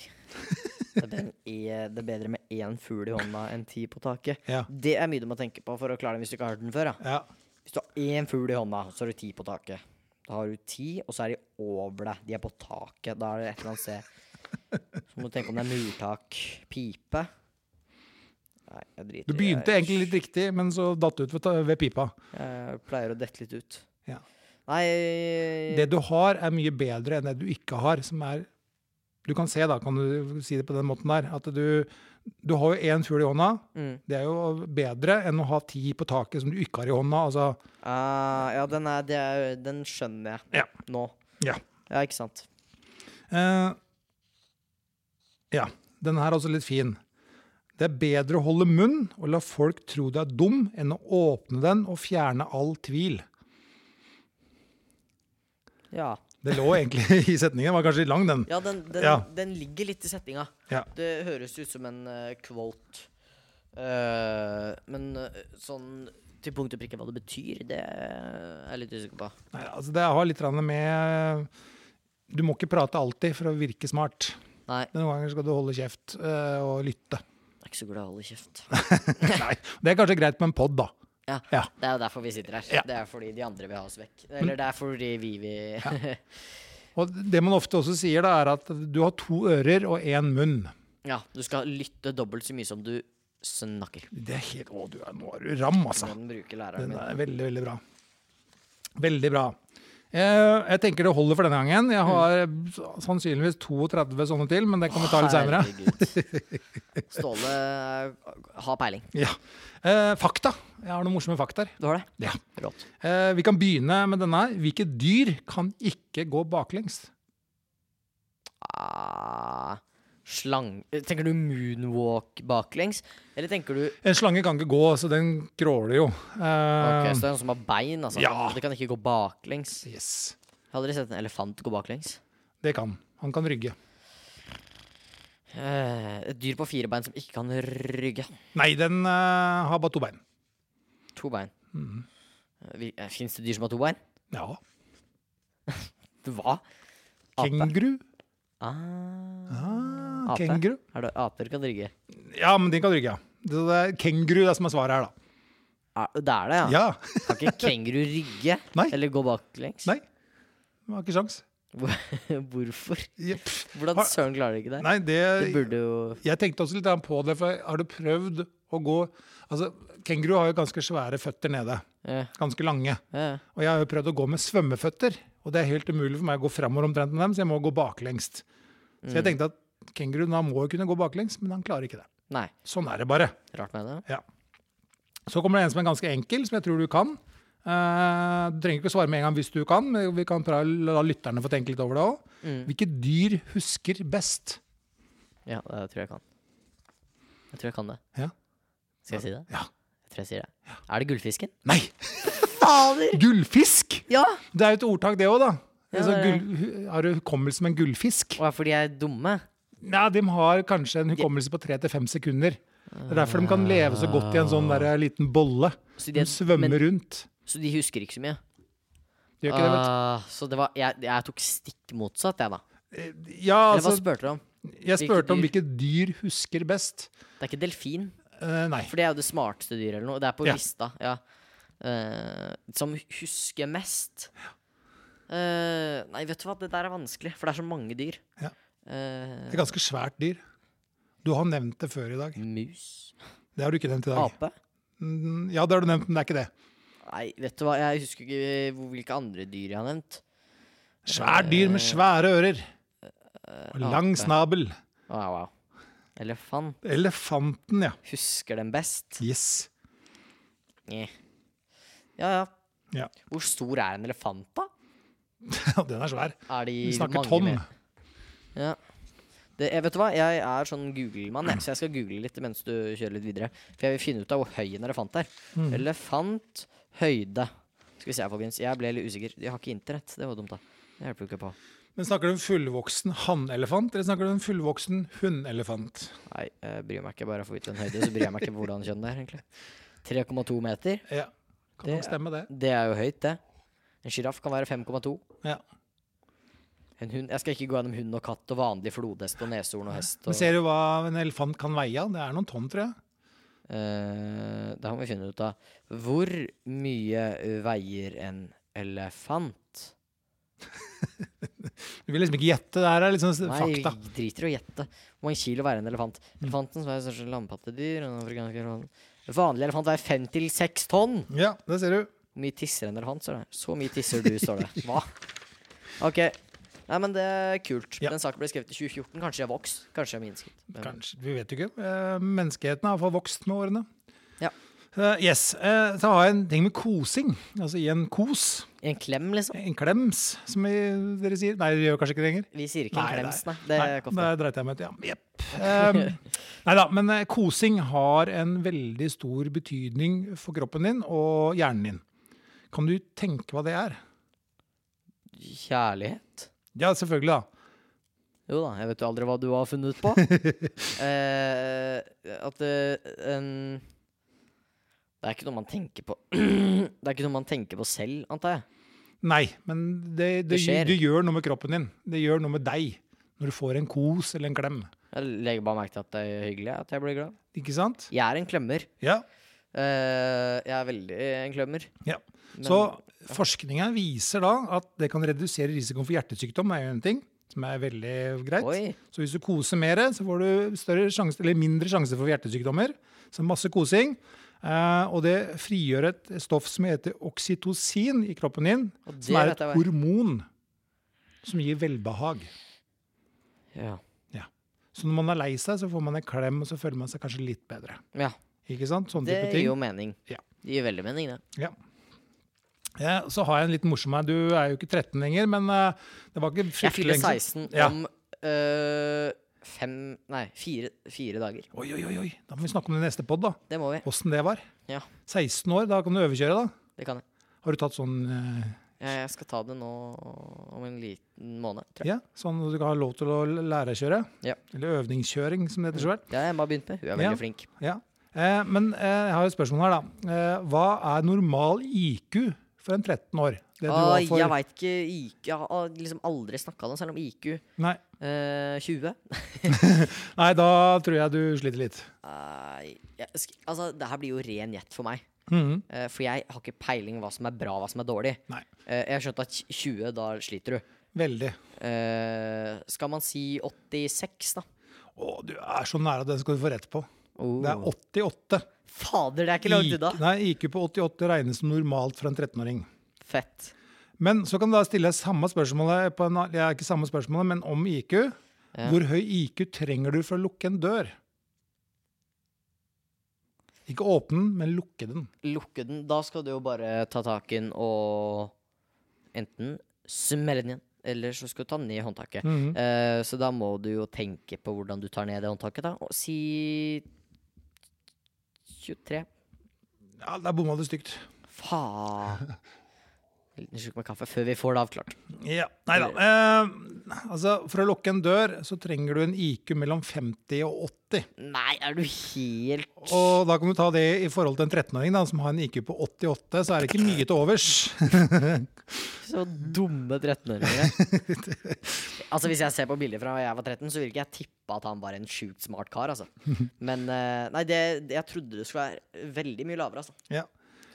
[SPEAKER 2] Det er bedre, e- det er bedre med én fugl i hånda enn ti på taket.
[SPEAKER 1] Ja.
[SPEAKER 2] Det er mye du må tenke på for å klare det hvis du ikke har hørt den før. Ja.
[SPEAKER 1] Ja.
[SPEAKER 2] Hvis du har én fugl i hånda, så har du ti på taket. Da har du ti, og så er de over deg. De er på taket. Da er det et eller annet sted. Så må du tenke om det er murtak, pipe. Nei, jeg driter
[SPEAKER 1] Du begynte egentlig litt riktig, men så datt du ut ved, ta- ved pipa.
[SPEAKER 2] Jeg, jeg pleier å dette litt ut.
[SPEAKER 1] Ja.
[SPEAKER 2] Nei
[SPEAKER 1] Det du har, er mye bedre enn det du ikke har, som er Du kan se, da, kan du si det på den måten der, at du, du har jo én fugl i hånda.
[SPEAKER 2] Mm.
[SPEAKER 1] Det er jo bedre enn å ha ti på taket som du ikke har i hånda. Altså,
[SPEAKER 2] Ah, ja, den, er, det er, den skjønner jeg
[SPEAKER 1] ja.
[SPEAKER 2] nå.
[SPEAKER 1] Ja.
[SPEAKER 2] Ja, ikke sant.
[SPEAKER 1] Eh, ja. Den her er også litt fin. Det er bedre å holde munn og la folk tro du er dum, enn å åpne den og fjerne all tvil.
[SPEAKER 2] Ja.
[SPEAKER 1] Det lå egentlig i setningen. Var kanskje litt lang, den.
[SPEAKER 2] Ja, den, den,
[SPEAKER 1] Ja.
[SPEAKER 2] den ligger litt i setninga.
[SPEAKER 1] Ja.
[SPEAKER 2] Det høres ut som en eh, quote. Eh, men eh, sånn til punkt og prikke hva det betyr, det er jeg litt usikker på.
[SPEAKER 1] Nei, altså det har litt grann med Du må ikke prate alltid for å virke smart.
[SPEAKER 2] Nei,
[SPEAKER 1] Noen ganger skal du holde kjeft eh, og lytte.
[SPEAKER 2] jeg er ikke så glad i å holde kjeft.
[SPEAKER 1] Nei, Det er kanskje greit med en pod, da.
[SPEAKER 2] Ja,
[SPEAKER 1] Ja.
[SPEAKER 2] Det er jo derfor vi sitter her.
[SPEAKER 1] Ja. Mm.
[SPEAKER 2] Det er fordi de andre vil ha oss vekk. Eller det er fordi vi vil ja.
[SPEAKER 1] Og det man ofte også sier, da, er at du har to ører og én munn.
[SPEAKER 2] du skal lytte dobbelt så mye som du snakker.
[SPEAKER 1] Det er helt Å, du er, nå er du ram, altså.
[SPEAKER 2] Den bruker læreren
[SPEAKER 1] Den
[SPEAKER 2] min.
[SPEAKER 1] er veldig, veldig bra. Veldig bra. Eh, Jeg tenker det holder for denne gangen. Jeg har eh, sannsynligvis 32 sånne til, men det kan vi ta litt seinere.
[SPEAKER 2] Herregud. Ståle eh, har peiling.
[SPEAKER 1] Ja. Eh, Fakta. Jeg har noen morsomme faktaer.
[SPEAKER 2] Du har det?
[SPEAKER 1] Ja.
[SPEAKER 2] Rått.
[SPEAKER 1] Eh, vi kan begynne med denne. her. Hvilke dyr kan ikke gå baklengs?
[SPEAKER 2] Ah, slang... Tenker du moonwalk baklengs? Eller tenker du
[SPEAKER 1] En slange kan ikke gå, så den kråler jo.
[SPEAKER 2] Ok,
[SPEAKER 1] Eh,
[SPEAKER 2] så det er noen som har bein, altså?
[SPEAKER 1] ja.
[SPEAKER 2] Det kan ikke gå baklengs?
[SPEAKER 1] yes.
[SPEAKER 2] Jeg har aldri sett en elefant gå baklengs.
[SPEAKER 1] Det kan. Han kan rygge.
[SPEAKER 2] Eh, et dyr på fire bein som ikke kan rygge.
[SPEAKER 1] Nei, den eh, har bare to bein.
[SPEAKER 2] To bein. Mm. Fins det dyr som har to bein?
[SPEAKER 1] Ja.
[SPEAKER 2] Hva? Ape?
[SPEAKER 1] Kenguru.
[SPEAKER 2] Ah,
[SPEAKER 1] Ah,
[SPEAKER 2] Ape.
[SPEAKER 1] kenguru.
[SPEAKER 2] er det aper kan rygge?
[SPEAKER 1] Ja, men den kan rygge, ja. Så det er kenguru det er som er svaret her, da.
[SPEAKER 2] Er, Ah, det er det, ja.
[SPEAKER 1] Ja.
[SPEAKER 2] Kan ikke kenguru rygge?
[SPEAKER 1] Nei.
[SPEAKER 2] Eller gå baklengs?
[SPEAKER 1] Nei. Du har ikke sjans.
[SPEAKER 2] Hvorfor?
[SPEAKER 1] Ja, pff.
[SPEAKER 2] Hvordan
[SPEAKER 1] Har-
[SPEAKER 2] søren klarer de ikke det?
[SPEAKER 1] Nei,
[SPEAKER 2] Det
[SPEAKER 1] det
[SPEAKER 2] burde jo
[SPEAKER 1] Jeg tenkte også litt grann på det, for har du prøvd å gå Altså, kenguru har jo ganske svære føtter nede.
[SPEAKER 2] Ja.
[SPEAKER 1] Ganske lange.
[SPEAKER 2] Ja.
[SPEAKER 1] Og jeg har jo prøvd å gå med svømmeføtter, og det er helt umulig for meg å gå framover omtrent med dem, så jeg må gå baklengst. Så
[SPEAKER 2] Mm.
[SPEAKER 1] jeg tenkte at kenguruen han må jo kunne gå baklengs, men han klarer ikke det.
[SPEAKER 2] Nei.
[SPEAKER 1] Sånn er det bare.
[SPEAKER 2] Rart med det.
[SPEAKER 1] Så kommer det en som er ganske enkel, som jeg tror du kan. Eh, du trenger ikke å svare med en gang hvis du kan, men vi kan prøve å la lytterne få tenke litt over det òg.
[SPEAKER 2] Mm.
[SPEAKER 1] Hvilke dyr husker best?
[SPEAKER 2] Ja, det tror jeg kan. Jeg tror jeg kan det.
[SPEAKER 1] Ja.
[SPEAKER 2] Skal jeg si det?
[SPEAKER 1] Ja.
[SPEAKER 2] Jeg tror jeg sier det. Er det gullfisken?
[SPEAKER 1] Nei!
[SPEAKER 2] Fader!
[SPEAKER 1] Gullfisk!
[SPEAKER 2] Ja!
[SPEAKER 1] Det er jo et ordtak, det òg, da.
[SPEAKER 2] Ja,
[SPEAKER 1] altså,
[SPEAKER 2] det er det.
[SPEAKER 1] gull, har du hukommelse som en gullfisk?
[SPEAKER 2] Og er fordi jeg er dumme?
[SPEAKER 1] Nei, de har kanskje en hukommelse på tre til fem sekunder. Det er derfor de kan leve så godt i en sånn der liten bolle.
[SPEAKER 2] Så
[SPEAKER 1] De svømmer
[SPEAKER 2] men,
[SPEAKER 1] rundt.
[SPEAKER 2] Så de husker ikke så mye?
[SPEAKER 1] De gjør ikke det, vet
[SPEAKER 2] Ah, så det var jeg, jeg tok stikk motsatt, jeg, da.
[SPEAKER 1] du. Ja,
[SPEAKER 2] Eller hva
[SPEAKER 1] altså,
[SPEAKER 2] spurte du om?
[SPEAKER 1] jeg spurte om
[SPEAKER 2] dyr?
[SPEAKER 1] hvilke dyr husker best.
[SPEAKER 2] Det er ikke delfin,
[SPEAKER 1] Eh, nei.
[SPEAKER 2] for det er jo det smarteste dyret eller noe. Det er på
[SPEAKER 1] Ja.
[SPEAKER 2] lista. Ja. Eh, som husker mest. Eh, nei, vet du hva, det der er vanskelig, for det er så mange dyr.
[SPEAKER 1] Ja.
[SPEAKER 2] Eh,
[SPEAKER 1] Det er ganske svært dyr. Du har nevnt det før i dag.
[SPEAKER 2] mus?
[SPEAKER 1] Det har du ikke nevnt i dag.
[SPEAKER 2] Ape?
[SPEAKER 1] Mm, Ja, det har du nevnt, men det er ikke det.
[SPEAKER 2] Nei, vet du hva, jeg husker ikke eh, hvor- hvilke andre dyr jeg har nevnt.
[SPEAKER 1] Svært dyr med svære ører. Og lang
[SPEAKER 2] Eh, ape.
[SPEAKER 1] snabel.
[SPEAKER 2] Wow, wow. Elefant.
[SPEAKER 1] Elefanten, ja.
[SPEAKER 2] Husker den best?
[SPEAKER 1] Yes.
[SPEAKER 2] Neh. Ja, ja.
[SPEAKER 1] Ja.
[SPEAKER 2] Hvor stor er en elefant, da?
[SPEAKER 1] Den er svær.
[SPEAKER 2] Er de
[SPEAKER 1] Vi snakker
[SPEAKER 2] mange
[SPEAKER 1] tonn.
[SPEAKER 2] med- Ja. Det, jeg, vet du hva, jeg er sånn Google-mann, jeg, så jeg skal google litt mens du kjører litt videre. For jeg vil finne ut av hvor høy en elefant er.
[SPEAKER 1] Mm.
[SPEAKER 2] Elefant høyde. Skal vi se, her, folkens. Jeg ble litt usikker. Jeg har ikke internett. Det var dumt, da. Det hjelper jo ikke på.
[SPEAKER 1] Men snakker du om fullvoksen hannelefant, eller snakker du om fullvoksen hundelefant?
[SPEAKER 2] Nei, jeg bryr meg ikke bare jeg får vite en høyde, så bryr jeg meg ikke hvordan kjønn det er, egentlig. 3,2 meter.
[SPEAKER 1] Ja, kan
[SPEAKER 2] Det
[SPEAKER 1] nok stemme det.
[SPEAKER 2] Det er jo høyt, det. En sjiraff kan være 5,2.
[SPEAKER 1] Ja.
[SPEAKER 2] En hund Jeg skal ikke gå gjennom hund og katt og vanlig flodhest og neshorn og hest. Og,
[SPEAKER 1] Men ser du hva en elefant kan veie? Det er noen tonn, tror jeg.
[SPEAKER 2] Eh, det her må vi finne ut av. Hvor mye veier en elefant?
[SPEAKER 1] Du vil liksom ikke gjette. Det her er liksom s-
[SPEAKER 2] Nei,
[SPEAKER 1] fakta. Mm.
[SPEAKER 2] vi driter i å gjette. Hvor mange kilo veier en elefant? Elefanten som er største landpattedyr og den afrikanske elefanten. En Vanlig elefant veier fem til seks tonn.
[SPEAKER 1] Ja, det ser du.
[SPEAKER 2] Hvor mye tisser en elefant, står det. Så mye tisser du, står det. Hva? OK. Nei, men det er kult.
[SPEAKER 1] Ja.
[SPEAKER 2] Den saken ble skrevet i 2014. Kanskje jeg vokste. Kanskje jeg minsket. Men-
[SPEAKER 1] Kanskje, vi vet jo ikke. Eh, Menneskeheten har iallfall vokst med årene.
[SPEAKER 2] Ja.
[SPEAKER 1] Eh, yes. eh, Så har jeg en ting med kosing. Altså i en kos,
[SPEAKER 2] I en klem, liksom?
[SPEAKER 1] en klems, som vi, dere sier. Nei, dere gjør kanskje ikke det lenger?
[SPEAKER 2] Vi sier ikke en
[SPEAKER 1] Nei,
[SPEAKER 2] klems, nei. Det er ikke ofte.
[SPEAKER 1] det dreit jeg meg ut i. Ja. Jepp. nei da, men eh, kosing har en veldig stor betydning for kroppen din og hjernen din. Kan du tenke hva det er?
[SPEAKER 2] Kjærlighet?
[SPEAKER 1] Ja, selvfølgelig, da.
[SPEAKER 2] Jo da, jeg vet jo aldri hva du har funnet på. eh, at eh, en Det er ikke noe man tenker på Det er ikke noe man tenker på selv, antar jeg.
[SPEAKER 1] Nei, men det, det,
[SPEAKER 2] Det skjer.
[SPEAKER 1] det gjør noe med kroppen din. Det gjør noe med deg når du får en kos eller en klem.
[SPEAKER 2] Jeg legger bare merke til at det er hyggelig, at jeg blir glad.
[SPEAKER 1] Ikke sant?
[SPEAKER 2] Jeg er en klemmer.
[SPEAKER 1] Ja.
[SPEAKER 2] Eh, jeg er veldig en klemmer.
[SPEAKER 1] ja.
[SPEAKER 2] Men-
[SPEAKER 1] Så forskninga viser da at det kan redusere risikoen for hjertesykdom, er jo en ting som er veldig greit.
[SPEAKER 2] Oi.
[SPEAKER 1] Så hvis du koser mer, så får du større sjanse, eller mindre sjanse for hjertesykdommer. Så masse kosing. Eh, og det frigjør et stoff som heter oksytocin i kroppen din,
[SPEAKER 2] Og det
[SPEAKER 1] som er
[SPEAKER 2] vet
[SPEAKER 1] et
[SPEAKER 2] jeg hva er.
[SPEAKER 1] hormon som gir velbehag.
[SPEAKER 2] Ja.
[SPEAKER 1] Så når man er lei seg, så får man en klem, og så føler man seg kanskje litt bedre.
[SPEAKER 2] ja.
[SPEAKER 1] Ikke sant? Sånne
[SPEAKER 2] Det
[SPEAKER 1] Sånn type
[SPEAKER 2] gir
[SPEAKER 1] ting.
[SPEAKER 2] jo mening.
[SPEAKER 1] Ja.
[SPEAKER 2] Det gir veldig mening, det.
[SPEAKER 1] Ja. Ja, så har jeg en litt morsom her. Du er jo ikke 13 lenger, men eh, det var ikke
[SPEAKER 2] Jeg
[SPEAKER 1] fryktelig
[SPEAKER 2] fyller
[SPEAKER 1] lenge siden.
[SPEAKER 2] 16
[SPEAKER 1] Ja.
[SPEAKER 2] om eh, fem Nei, fire, fire dager.
[SPEAKER 1] Oi, oi, oi, oi. Da må vi snakke om det i neste pod, da.
[SPEAKER 2] Det må vi.
[SPEAKER 1] Åssen det var.
[SPEAKER 2] Ja.
[SPEAKER 1] 16 år, da kan du overkjøre, da.
[SPEAKER 2] Det kan jeg.
[SPEAKER 1] Har du tatt sånn eh,
[SPEAKER 2] Jeg, jeg skal ta det nå om en liten måned, tror jeg.
[SPEAKER 1] Ja, sånn at du kan ha lov til å lære å kjøre?
[SPEAKER 2] Ja.
[SPEAKER 1] Eller øvingskjøring, som det heter så vel.
[SPEAKER 2] Det har Emma begynt med. Hun er
[SPEAKER 1] Ja.
[SPEAKER 2] veldig flink.
[SPEAKER 1] Ja. Eh, men eh, jeg har et spørsmål her, da. Eh, hva er normal IQ for en 13 år? Det du
[SPEAKER 2] Ah,
[SPEAKER 1] var for
[SPEAKER 2] Jeg veit ikke IQ Jeg har liksom aldri snakka om det, selv om IQ
[SPEAKER 1] nei,
[SPEAKER 2] eh, 20
[SPEAKER 1] nei, da tror jeg du sliter litt.
[SPEAKER 2] Nei, jeg, sk- Altså, det her blir jo ren gjett for meg.
[SPEAKER 1] Mhm.
[SPEAKER 2] Eh, for jeg har ikke peiling hva som er bra, hva som er dårlig.
[SPEAKER 1] Nei.
[SPEAKER 2] Eh, jeg har skjønt at 20, da sliter du.
[SPEAKER 1] Veldig.
[SPEAKER 2] Eh, skal man si 86, da?
[SPEAKER 1] Å, du er så nære, den skal du få rett på.
[SPEAKER 2] Oh.
[SPEAKER 1] Det er 88.
[SPEAKER 2] Fader, det er ikke langt unna!
[SPEAKER 1] IQ nei, IQ på 88 regnes som normalt for en 13-åring.
[SPEAKER 2] Fett.
[SPEAKER 1] Men så kan du da stille samme spørsmålet på en, annen- ja, ikke samme spørsmålet, men om IQ.
[SPEAKER 2] Ja.
[SPEAKER 1] Hvor høy IQ trenger du for å lukke en dør? Ikke åpne den, men lukke den.
[SPEAKER 2] Lukke den. Da skal du jo bare ta tak i den og enten smelle den igjen, eller så skal du ta den ned i håndtaket.
[SPEAKER 1] Mhm.
[SPEAKER 2] Eh, så da må du jo tenke på hvordan du tar ned det håndtaket, da. Og si 23.
[SPEAKER 1] Ja, Der bomma du stygt.
[SPEAKER 2] Faen. En liten slurk med kaffe før vi får det avklart.
[SPEAKER 1] Ja, Nei da. Eh, altså, for å lukke en dør så trenger du en IQ mellom 50 og 80.
[SPEAKER 2] Nei, er du helt
[SPEAKER 1] Og da kan du ta det i forhold til en 13-åring da, som har en IQ på 88, så er det ikke mye til overs.
[SPEAKER 2] så dumme 13-åringer? altså, hvis jeg ser på bilder fra da jeg var 13, så vil ikke jeg tippe at han var en sjukt smart kar, altså. Men eh, nei, det, det, jeg trodde det skulle være veldig mye lavere, altså.
[SPEAKER 1] Ja.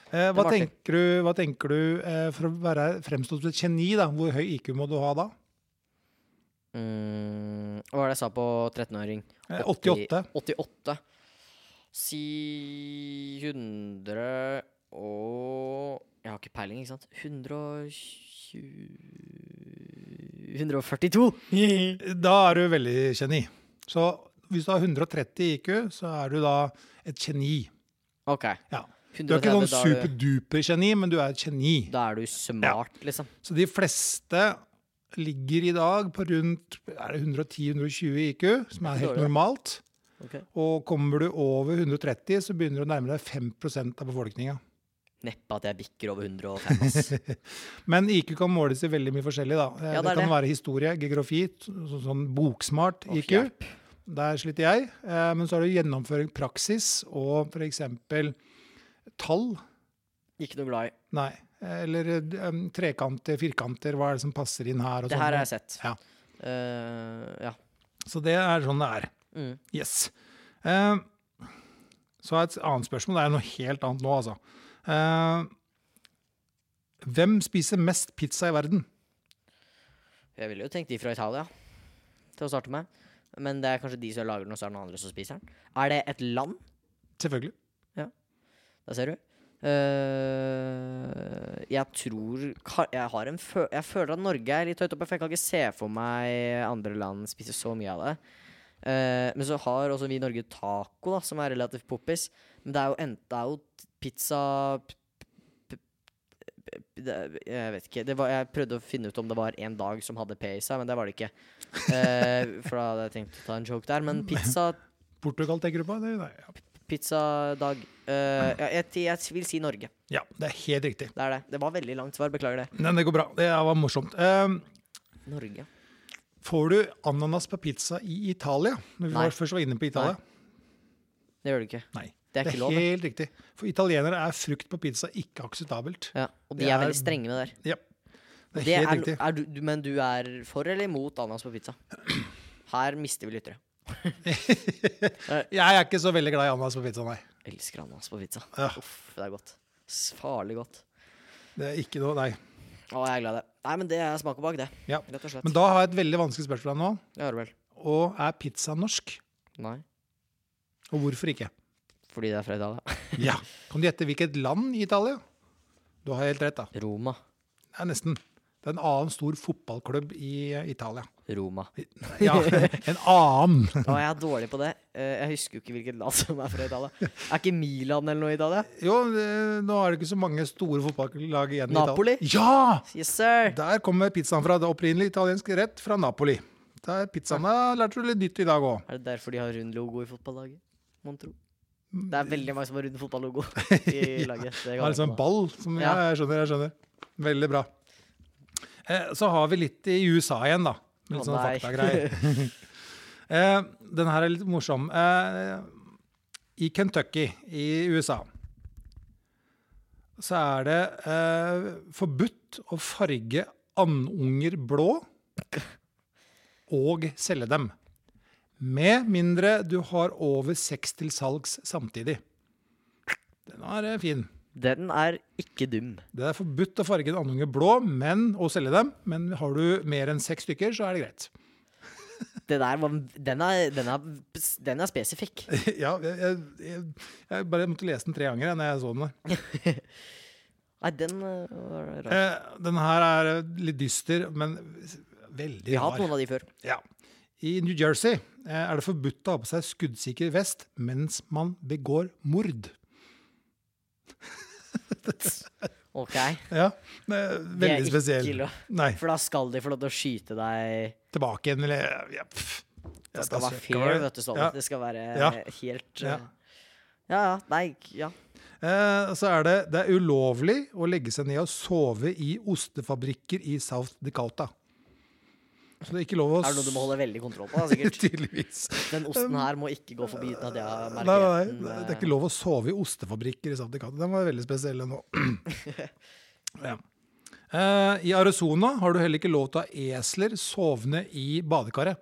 [SPEAKER 1] Eh, hva,
[SPEAKER 2] var artig.
[SPEAKER 1] tenker du, hva tenker du eh, for å være fremstått som et geni, da? Hvor høy IQ må du ha da?
[SPEAKER 2] Mm, hva var det jeg sa på 13-åring?
[SPEAKER 1] Eh,
[SPEAKER 2] 80
[SPEAKER 1] 88.
[SPEAKER 2] 88. Si 100 og Jeg har ikke peiling, ikke sant? 120 142!
[SPEAKER 1] Da er du veldig geni. Så hvis du har 130 IQ, så er du da et geni.
[SPEAKER 2] OK.
[SPEAKER 1] Ja. Du er ikke
[SPEAKER 2] 130,
[SPEAKER 1] sånn
[SPEAKER 2] da er du-
[SPEAKER 1] superduper-geni, men du er et geni.
[SPEAKER 2] Da er du smart, liksom.
[SPEAKER 1] Så de fleste ligger i dag på rundt 110-120 IQ, som er helt
[SPEAKER 2] dårlig.
[SPEAKER 1] normalt.
[SPEAKER 2] Ok.
[SPEAKER 1] Og kommer du over 130, så begynner du å nærme deg 5 av befolkninga.
[SPEAKER 2] Neppe at jeg bikker over 105, ass.
[SPEAKER 1] Men IQ kan måles i veldig mye forskjellig. da. Eh,
[SPEAKER 2] Ja,
[SPEAKER 1] det,
[SPEAKER 2] det er
[SPEAKER 1] kan
[SPEAKER 2] det.
[SPEAKER 1] være historie, geografi, sånn, sånn boksmart
[SPEAKER 2] Å,
[SPEAKER 1] IQ.
[SPEAKER 2] hjelp.
[SPEAKER 1] Der sliter jeg. Eh, men så er det gjennomføring, praksis og f.eks. tall.
[SPEAKER 2] Ikke noe glad i.
[SPEAKER 1] Nei. Eller eh, trekanter, firkanter, hva er det som passer inn her? Og
[SPEAKER 2] Det
[SPEAKER 1] sånn.
[SPEAKER 2] her har jeg sett.
[SPEAKER 1] Ja.
[SPEAKER 2] Eh, ja.
[SPEAKER 1] Så det er sånn det er.
[SPEAKER 2] Mm.
[SPEAKER 1] Yes. Eh, så har jeg et annet spørsmål. Det er noe helt annet nå, altså. Eh, hvem spiser mest pizza i verden?
[SPEAKER 2] Jeg ville jo tenkt de fra Italia til å starte med. Men det er kanskje de som lager den, og så er det noen andre som spiser den. Er det et land?
[SPEAKER 1] Selvfølgelig.
[SPEAKER 2] Der ser du. Eh, jeg tror ka- jeg, har en fø jeg føler at Norge er litt høyt oppe, for jeg kan ikke se for meg andre land spise så mye av det. Eh, men så har også vi i Norge taco, da, som er relativt poppis. Men det er jo enten Det er jo pizza p- p- p- det, Jeg vet ikke. Det var, jeg prøvde å finne ut om det var en dag som hadde P i seg, men det var det ikke. Eh, for da hadde jeg tenkt å ta en joke der. Men pizza
[SPEAKER 1] Portugal tenker du på? Det, nei, ja.
[SPEAKER 2] pizzadag eh, ja, jeg, jeg vil si Norge.
[SPEAKER 1] ja, det er helt riktig.
[SPEAKER 2] Det er det. Det var veldig langt svar. Beklager det.
[SPEAKER 1] Men det går bra. Det var morsomt. Eh,
[SPEAKER 2] Norge.
[SPEAKER 1] får du ananas på pizza i Italia? Når vi
[SPEAKER 2] Nei.
[SPEAKER 1] var- først var inne på Italia.
[SPEAKER 2] Det gjør du ikke.
[SPEAKER 1] Nei.
[SPEAKER 2] Det er
[SPEAKER 1] Det
[SPEAKER 2] ikke
[SPEAKER 1] er
[SPEAKER 2] lov. det.
[SPEAKER 1] helt riktig. For italienere er frukt på pizza ikke akseptabelt.
[SPEAKER 2] Ja, og de
[SPEAKER 1] Det
[SPEAKER 2] er,
[SPEAKER 1] er-
[SPEAKER 2] veldig strenge med det der.
[SPEAKER 1] Ja. Det er
[SPEAKER 2] Det
[SPEAKER 1] helt
[SPEAKER 2] er,
[SPEAKER 1] riktig.
[SPEAKER 2] er du, du- men du er for eller imot ananas på pizza? Her mister vi lyttere.
[SPEAKER 1] Jeg er ikke så veldig glad i ananas på pizza, nei.
[SPEAKER 2] Elsker ananas på pizza.
[SPEAKER 1] Ja.
[SPEAKER 2] Uff, det er godt. S- Farlig godt.
[SPEAKER 1] Det er ikke noe, nei.
[SPEAKER 2] Å, jeg er glad i det. Nei, men det er smaken bak, det.
[SPEAKER 1] Ja.
[SPEAKER 2] Rett og slett.
[SPEAKER 1] Men da har jeg et veldig vanskelig spørsmål nå.
[SPEAKER 2] Ja vel.
[SPEAKER 1] Og er pizza norsk?
[SPEAKER 2] Nei.
[SPEAKER 1] Og hvorfor ikke?
[SPEAKER 2] Fordi det er fra Italia.
[SPEAKER 1] Ja. Kan du gjette hvilket land i Italia? Du har helt rett, da.
[SPEAKER 2] Roma.
[SPEAKER 1] Det er nesten. Det er en annen stor fotballklubb i eh, Italia.
[SPEAKER 2] Roma.
[SPEAKER 1] Ja, en annen.
[SPEAKER 2] Å, jeg er dårlig på det. Eh, Jeg husker jo ikke hvilket land som er fra Italia. Er ikke Milan eller noe i Italia?
[SPEAKER 1] Jo, eh, nå er det ikke så mange store fotballag igjen
[SPEAKER 2] Napoli?
[SPEAKER 1] i Italia. Napoli?
[SPEAKER 2] Yes, sir!
[SPEAKER 1] Ja! Der kommer pizzaen fra. Det er opprinnelig italiensk rett fra Napoli. Der pizzaen der lærte du litt nytt i dag òg.
[SPEAKER 2] Er det derfor de har rund logo i fotballaget? Mon tro. Det er veldig mange som har rund fotballogo i laget. Det
[SPEAKER 1] Det er Mm. liksom en ball. Som, ja,
[SPEAKER 2] Ja.
[SPEAKER 1] jeg skjønner, jeg skjønner. Veldig bra. Eh, så har vi litt i USA igjen, da. Litt
[SPEAKER 2] Å,
[SPEAKER 1] sånn
[SPEAKER 2] nei.
[SPEAKER 1] faktagreier. eh, den her er litt morsom. Eh, I Kentucky i USA så er det eh, forbudt å farge andunger blå og selge dem. Med mindre du har over seks til salgs samtidig. Den er eh, fin.
[SPEAKER 2] Den er ikke dum.
[SPEAKER 1] Det er forbudt å farge en andunge blå men, og selge dem, men har du mer enn seks stykker, så er det greit.
[SPEAKER 2] Det der var, den, er, den, er, den er spesifikk.
[SPEAKER 1] ja, jeg, jeg, jeg, jeg bare måtte lese den tre ganger jeg, når jeg så den. der.
[SPEAKER 2] Nei, den øh, var rar.
[SPEAKER 1] Eh, den her er eh, litt dyster, men veldig
[SPEAKER 2] Vi har hatt
[SPEAKER 1] rar.
[SPEAKER 2] noen av de før.
[SPEAKER 1] Ja. I New Jersey eh, er det forbudt å ha på seg skuddsikker vest mens man begår mord.
[SPEAKER 2] OK.
[SPEAKER 1] Ja, det er
[SPEAKER 2] Det er
[SPEAKER 1] Veldig
[SPEAKER 2] ikke
[SPEAKER 1] spesiell.
[SPEAKER 2] lov.
[SPEAKER 1] Nei,
[SPEAKER 2] For da skal de få lov til å skyte deg.
[SPEAKER 1] tilbake igjen, eller ja, pff. Ja,
[SPEAKER 2] Det skal
[SPEAKER 1] da
[SPEAKER 2] være
[SPEAKER 1] søker man
[SPEAKER 2] fair,
[SPEAKER 1] det.
[SPEAKER 2] vet du, Ståle.
[SPEAKER 1] Ja.
[SPEAKER 2] Det skal være
[SPEAKER 1] Ja.
[SPEAKER 2] helt
[SPEAKER 1] Ja.
[SPEAKER 2] øh, Ja, ja. Nei, ja.
[SPEAKER 1] Eh, så er det det er ulovlig å legge seg ned og sove i ostefabrikker i South Dakota. Så det er ikke lov å
[SPEAKER 2] Er det noe du må holde veldig kontroll på, da, sikkert?
[SPEAKER 1] Tydeligvis.
[SPEAKER 2] Den osten her må ikke gå forbi uten at jeg har
[SPEAKER 1] Nei,
[SPEAKER 2] merket
[SPEAKER 1] nei,
[SPEAKER 2] den
[SPEAKER 1] nei,
[SPEAKER 2] med-
[SPEAKER 1] det eh, er ikke lov å sove i ostefabrikker i South Dakota. Den var veldig spesiell, den òg. ja. Eh, I Arizona har du heller ikke lov til å ha esler sovende i badekaret.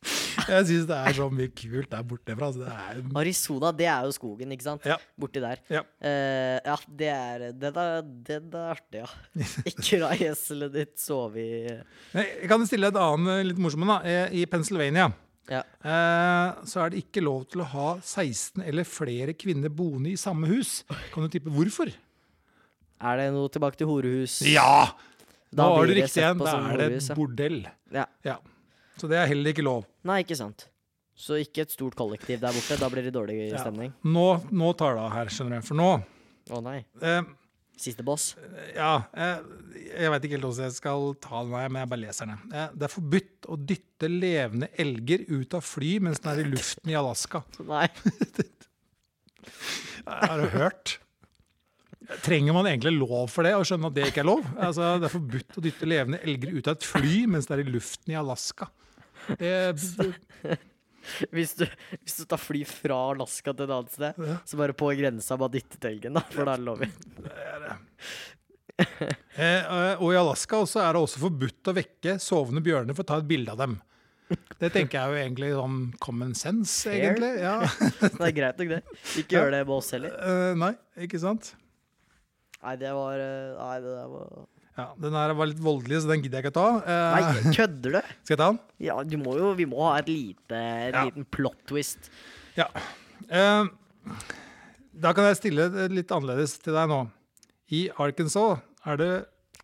[SPEAKER 1] Jeg syns det er så mye kult der borte fra. Altså, det er
[SPEAKER 2] Arizona, det er jo skogen, ikke sant?
[SPEAKER 1] Ja.
[SPEAKER 2] Borti der.
[SPEAKER 1] Ja.
[SPEAKER 2] Eh, ja, det er Det er, det er artig, ja. Ikke la gjeselet ditt sove i
[SPEAKER 1] Nei, Jeg kan stille et annet eh, litt morsomt. da. Eh, I Pennsylvania
[SPEAKER 2] Ja.
[SPEAKER 1] eh, så er det ikke lov til å ha 16 eller flere kvinner boende i samme hus. Kan du tippe hvorfor?
[SPEAKER 2] Er det noe tilbake til horehus?
[SPEAKER 1] Ja! Da,
[SPEAKER 2] Da
[SPEAKER 1] var
[SPEAKER 2] blir
[SPEAKER 1] det
[SPEAKER 2] det
[SPEAKER 1] riktig
[SPEAKER 2] sett
[SPEAKER 1] igjen.
[SPEAKER 2] på
[SPEAKER 1] Da
[SPEAKER 2] som
[SPEAKER 1] er det
[SPEAKER 2] horehus,
[SPEAKER 1] et
[SPEAKER 2] ja.
[SPEAKER 1] bordell.
[SPEAKER 2] Ja.
[SPEAKER 1] Ja. Så det er heller ikke lov.
[SPEAKER 2] Nei, ikke sant. Så ikke et stort kollektiv der borte. Da blir det dårlig
[SPEAKER 1] Ja.
[SPEAKER 2] stemning.
[SPEAKER 1] Nå, nå tar det av her, skjønner jeg. For nå
[SPEAKER 2] Å nei.
[SPEAKER 1] eh,
[SPEAKER 2] Siste boss.
[SPEAKER 1] Ja, eh, jeg veit ikke helt hvordan jeg skal ta den, her, men jeg bare leser den. Eh, Det er forbudt å dytte levende elger ut av fly mens den er i luften i Alaska.
[SPEAKER 2] Nei.
[SPEAKER 1] Har du hørt? Trenger man egentlig lov for det, og skjønne at det ikke er lov? Altså, det er forbudt å dytte levende elger ut av et fly mens det er i luften i Alaska. Det,
[SPEAKER 2] Hvis du, hvis du tar fly fra Alaska til et annet sted, så bare på grensa bare dytte til elgen, da. For da er det lov.
[SPEAKER 1] eh, og i Alaska også er det også forbudt å vekke sovende bjørner for å ta et bilde av dem. Det tenker jeg jo egentlig sånn common sense,
[SPEAKER 2] Fair.
[SPEAKER 1] egentlig. Ja.
[SPEAKER 2] Det er greit nok, det. Ikke gjør det med oss heller.
[SPEAKER 1] Eh, nei, ikke sant?
[SPEAKER 2] Nei, det var eh, Nei, det der var
[SPEAKER 1] Ja, Den her var litt voldelig, så den gidder jeg ikke å ta. Eh,
[SPEAKER 2] Nei, kødder du?
[SPEAKER 1] skal jeg ta den?
[SPEAKER 2] Ja, du må jo Vi må ha et lite En
[SPEAKER 1] Ja.
[SPEAKER 2] liten plot twist.
[SPEAKER 1] Ja. Eh, da kan jeg stille det litt annerledes til deg nå. I Arkansas er det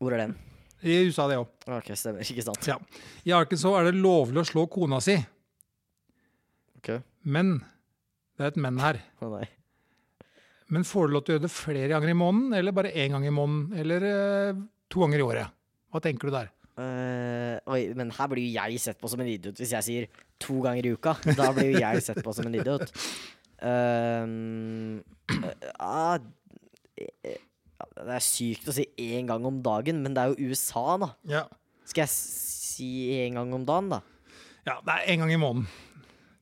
[SPEAKER 2] Hvor er den?
[SPEAKER 1] I USA, det òg.
[SPEAKER 2] OK, stemmer. Ikke sant?
[SPEAKER 1] Ja. I Arkansas er det lovlig å slå kona si,
[SPEAKER 2] OK.
[SPEAKER 1] men det er et men her.
[SPEAKER 2] Å nei.
[SPEAKER 1] Men får du lov til å gjøre det flere ganger i måneden, eller bare én gang i måneden, eller eh, to ganger i året? Hva tenker du der?
[SPEAKER 2] Eh, oi, men her blir jo jeg sett på som en idiot hvis jeg sier to ganger i uka. Da blir jo jeg sett på som en idiot. Ehm, eh, ah, eh, ja, det er sykt å si én gang om dagen, men det er jo USA, da.
[SPEAKER 1] Ja,
[SPEAKER 2] Skal jeg si én gang om dagen, da?
[SPEAKER 1] ja det er én gang i måneden.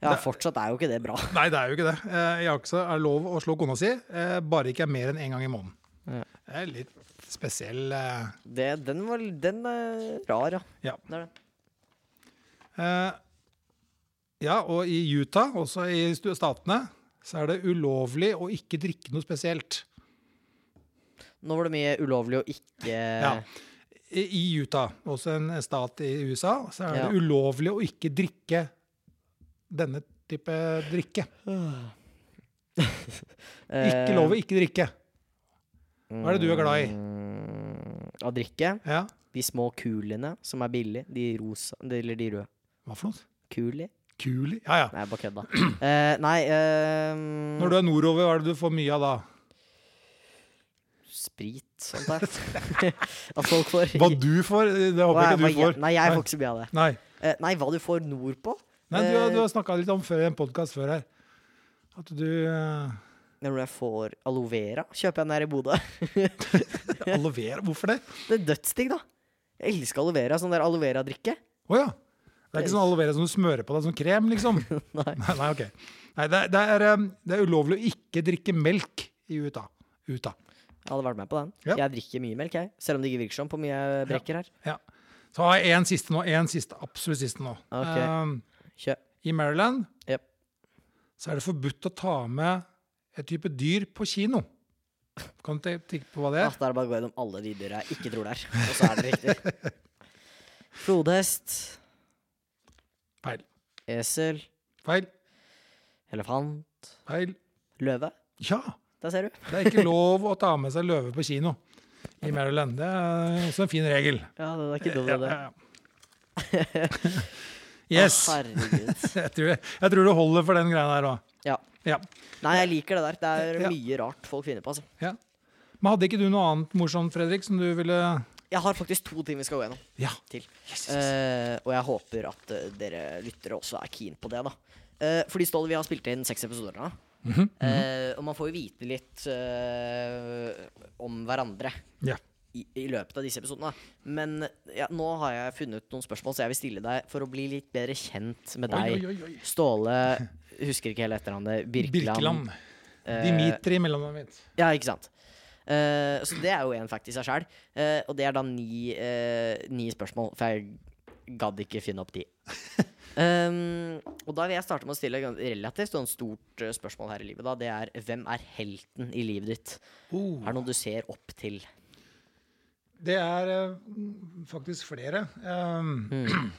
[SPEAKER 2] Ja, fortsatt er jo ikke det bra.
[SPEAKER 1] Nei, det er jo ikke det. Eh, I Arkansas er det lov å slå kona si, eh, bare ikke er mer enn én gang i måneden.
[SPEAKER 2] Ja.
[SPEAKER 1] Det er litt spesiell eh,
[SPEAKER 2] Det, den var den er rar, ja.
[SPEAKER 1] Ja.
[SPEAKER 2] Det er det.
[SPEAKER 1] Eh, ja, og i Utah, også i stu- statene, så er det ulovlig å ikke drikke noe spesielt.
[SPEAKER 2] Nå var det mye ulovlig å ikke
[SPEAKER 1] Ja. I i Utah, også en stat i USA, så er
[SPEAKER 2] Ja.
[SPEAKER 1] det ulovlig å ikke drikke denne type drikke.
[SPEAKER 2] eh,
[SPEAKER 1] Ikke lov å ikke drikke. Hva er det du er glad i?
[SPEAKER 2] Mm, Å drikke.
[SPEAKER 1] Ja,
[SPEAKER 2] De små kulene som er billige. De rosa, de- eller de røde.
[SPEAKER 1] hva for noe?
[SPEAKER 2] Kuli?
[SPEAKER 1] Kuli? Ja, ja.
[SPEAKER 2] Nei, jeg bare kødda. Eh, nei eh,
[SPEAKER 1] Når du er nordover, hva er det du får mye av da?
[SPEAKER 2] Sprit, sånt der. At folk får
[SPEAKER 1] Hva du får, det håper jeg
[SPEAKER 2] Hva-
[SPEAKER 1] ikke du
[SPEAKER 2] hva-
[SPEAKER 1] får.
[SPEAKER 2] Nei, jeg får ikke så mye av det.
[SPEAKER 1] Nei,
[SPEAKER 2] Eh, nei, hva du får nordpå?
[SPEAKER 1] Nei du, har-
[SPEAKER 2] Eh,
[SPEAKER 1] du har snakka litt om før i en podkast før her. At du eh,
[SPEAKER 2] Når jeg får aloe vera, kjøper jeg den her i Bodø.
[SPEAKER 1] Aloe vera, hvorfor det?
[SPEAKER 2] Det er dødsdigg, da. Jeg elsker aloe vera. Sånn der aloe vera-drikke.
[SPEAKER 1] Å ja. Det er ikke sånn aloe vera som du smører på deg som krem, liksom?
[SPEAKER 2] Nei.
[SPEAKER 1] Nei, nei, ok. Nei, det, er- det, er, um, det er ulovlig å ikke drikke melk i Utah. Utah.
[SPEAKER 2] Jeg hadde vært med på den.
[SPEAKER 1] Ja.
[SPEAKER 2] Jeg drikker mye melk, jeg. Selv om det ikke virker sånn på mye jeg brekker her.
[SPEAKER 1] Ja. Så har jeg én siste nå. En siste, absolutt siste nå.
[SPEAKER 2] Ok.
[SPEAKER 1] Um,
[SPEAKER 2] Kjø.
[SPEAKER 1] I Maryland
[SPEAKER 2] Jep.
[SPEAKER 1] så er det forbudt å ta med et type dyr på kino. Kan du te- tenke på hva det
[SPEAKER 2] Ja.
[SPEAKER 1] er?
[SPEAKER 2] Da er det bare å gå gjennom alle de dyra jeg ikke tror det er, og så er det riktig. Flodhest,
[SPEAKER 1] Feil.
[SPEAKER 2] esel,
[SPEAKER 1] Feil.
[SPEAKER 2] elefant,
[SPEAKER 1] Feil.
[SPEAKER 2] løve.
[SPEAKER 1] Ja!
[SPEAKER 2] Der ser du.
[SPEAKER 1] Det er ikke lov å ta med seg løve på kino i Maryland. Det er også en fin regel.
[SPEAKER 2] Ja, det er ikke
[SPEAKER 1] Ja,
[SPEAKER 2] dumt, det.
[SPEAKER 1] ja, ja. Yes.
[SPEAKER 2] Å, herregud.
[SPEAKER 1] Jeg tror, jeg tror det holder for den greia der òg.
[SPEAKER 2] Ja.
[SPEAKER 1] Ja.
[SPEAKER 2] Nei, jeg liker det der. Det
[SPEAKER 1] Ja.
[SPEAKER 2] er mye rart folk finner på, altså.
[SPEAKER 1] ja. Men hadde ikke du noe annet morsomt, Fredrik, som du ville
[SPEAKER 2] Jeg har faktisk to ting vi skal gå gjennom.
[SPEAKER 1] Ja.
[SPEAKER 2] til.
[SPEAKER 1] Yes, yes,
[SPEAKER 2] Eh, og jeg håper at eh, dere lyttere også er keen på det, da. Eh, fordi Ståle, vi har spilt inn seks episoder nå. Eh, og man får jo vite litt eh, om hverandre
[SPEAKER 1] Ja.
[SPEAKER 2] i, i løpet av disse episodene. Men ja, nå har jeg funnet ut noen spørsmål, så jeg vil stille deg for å bli litt bedre kjent med
[SPEAKER 1] Oi,
[SPEAKER 2] deg.
[SPEAKER 1] oi, oi, oi.
[SPEAKER 2] Ståle husker ikke hele etternavnet. Birkeland.
[SPEAKER 1] Birkeland.
[SPEAKER 2] Eh,
[SPEAKER 1] Dimitri, mellomnavnet mitt.
[SPEAKER 2] ja, ikke sant. Eh, så det er jo en fact i seg sjøl. og det er da ni, eh, ni spørsmål, for jeg gadd ikke finne opp de. Um, og da vil jeg starte med å stille et relativt sånn stort eh, spørsmål her i livet. da Det er hvem er helten i livet ditt?
[SPEAKER 1] Oh.
[SPEAKER 2] Er det noen du ser opp til?
[SPEAKER 1] Det er eh, faktisk flere. Um,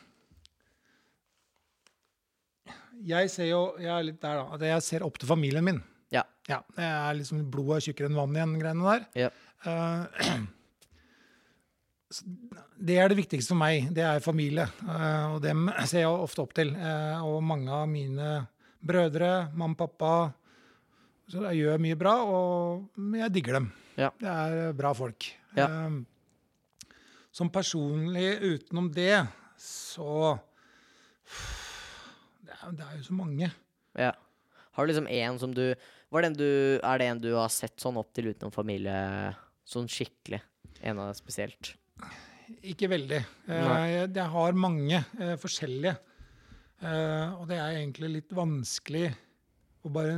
[SPEAKER 1] Jeg ser jo Jeg er litt der, da. At jeg ser opp til familien min.
[SPEAKER 2] Ja.
[SPEAKER 1] Ja, det er liksom Blodet er tjukkere enn vann igjen, greiene der.
[SPEAKER 2] ja.
[SPEAKER 1] Eh, så Det er det viktigste for meg. Det er familie. eh, Og dem ser jeg ofte opp til. Eh, Og mange av mine brødre, mamma og pappa, så jeg gjør mye bra, og jeg digger dem.
[SPEAKER 2] Ja.
[SPEAKER 1] Det er eh, bra folk.
[SPEAKER 2] Ja.
[SPEAKER 1] Ehm, som personlig utenom det, så det er, det er jo så mange.
[SPEAKER 2] Ja. Har du liksom en som du Var den du Er det en du har sett sånn opp til utenom familie? Sånn skikkelig? En av deg spesielt?
[SPEAKER 1] Ikke veldig. Eh,
[SPEAKER 2] Nei.
[SPEAKER 1] jeg- jeg har mange eh, forskjellige. Eh, og det er egentlig litt vanskelig å bare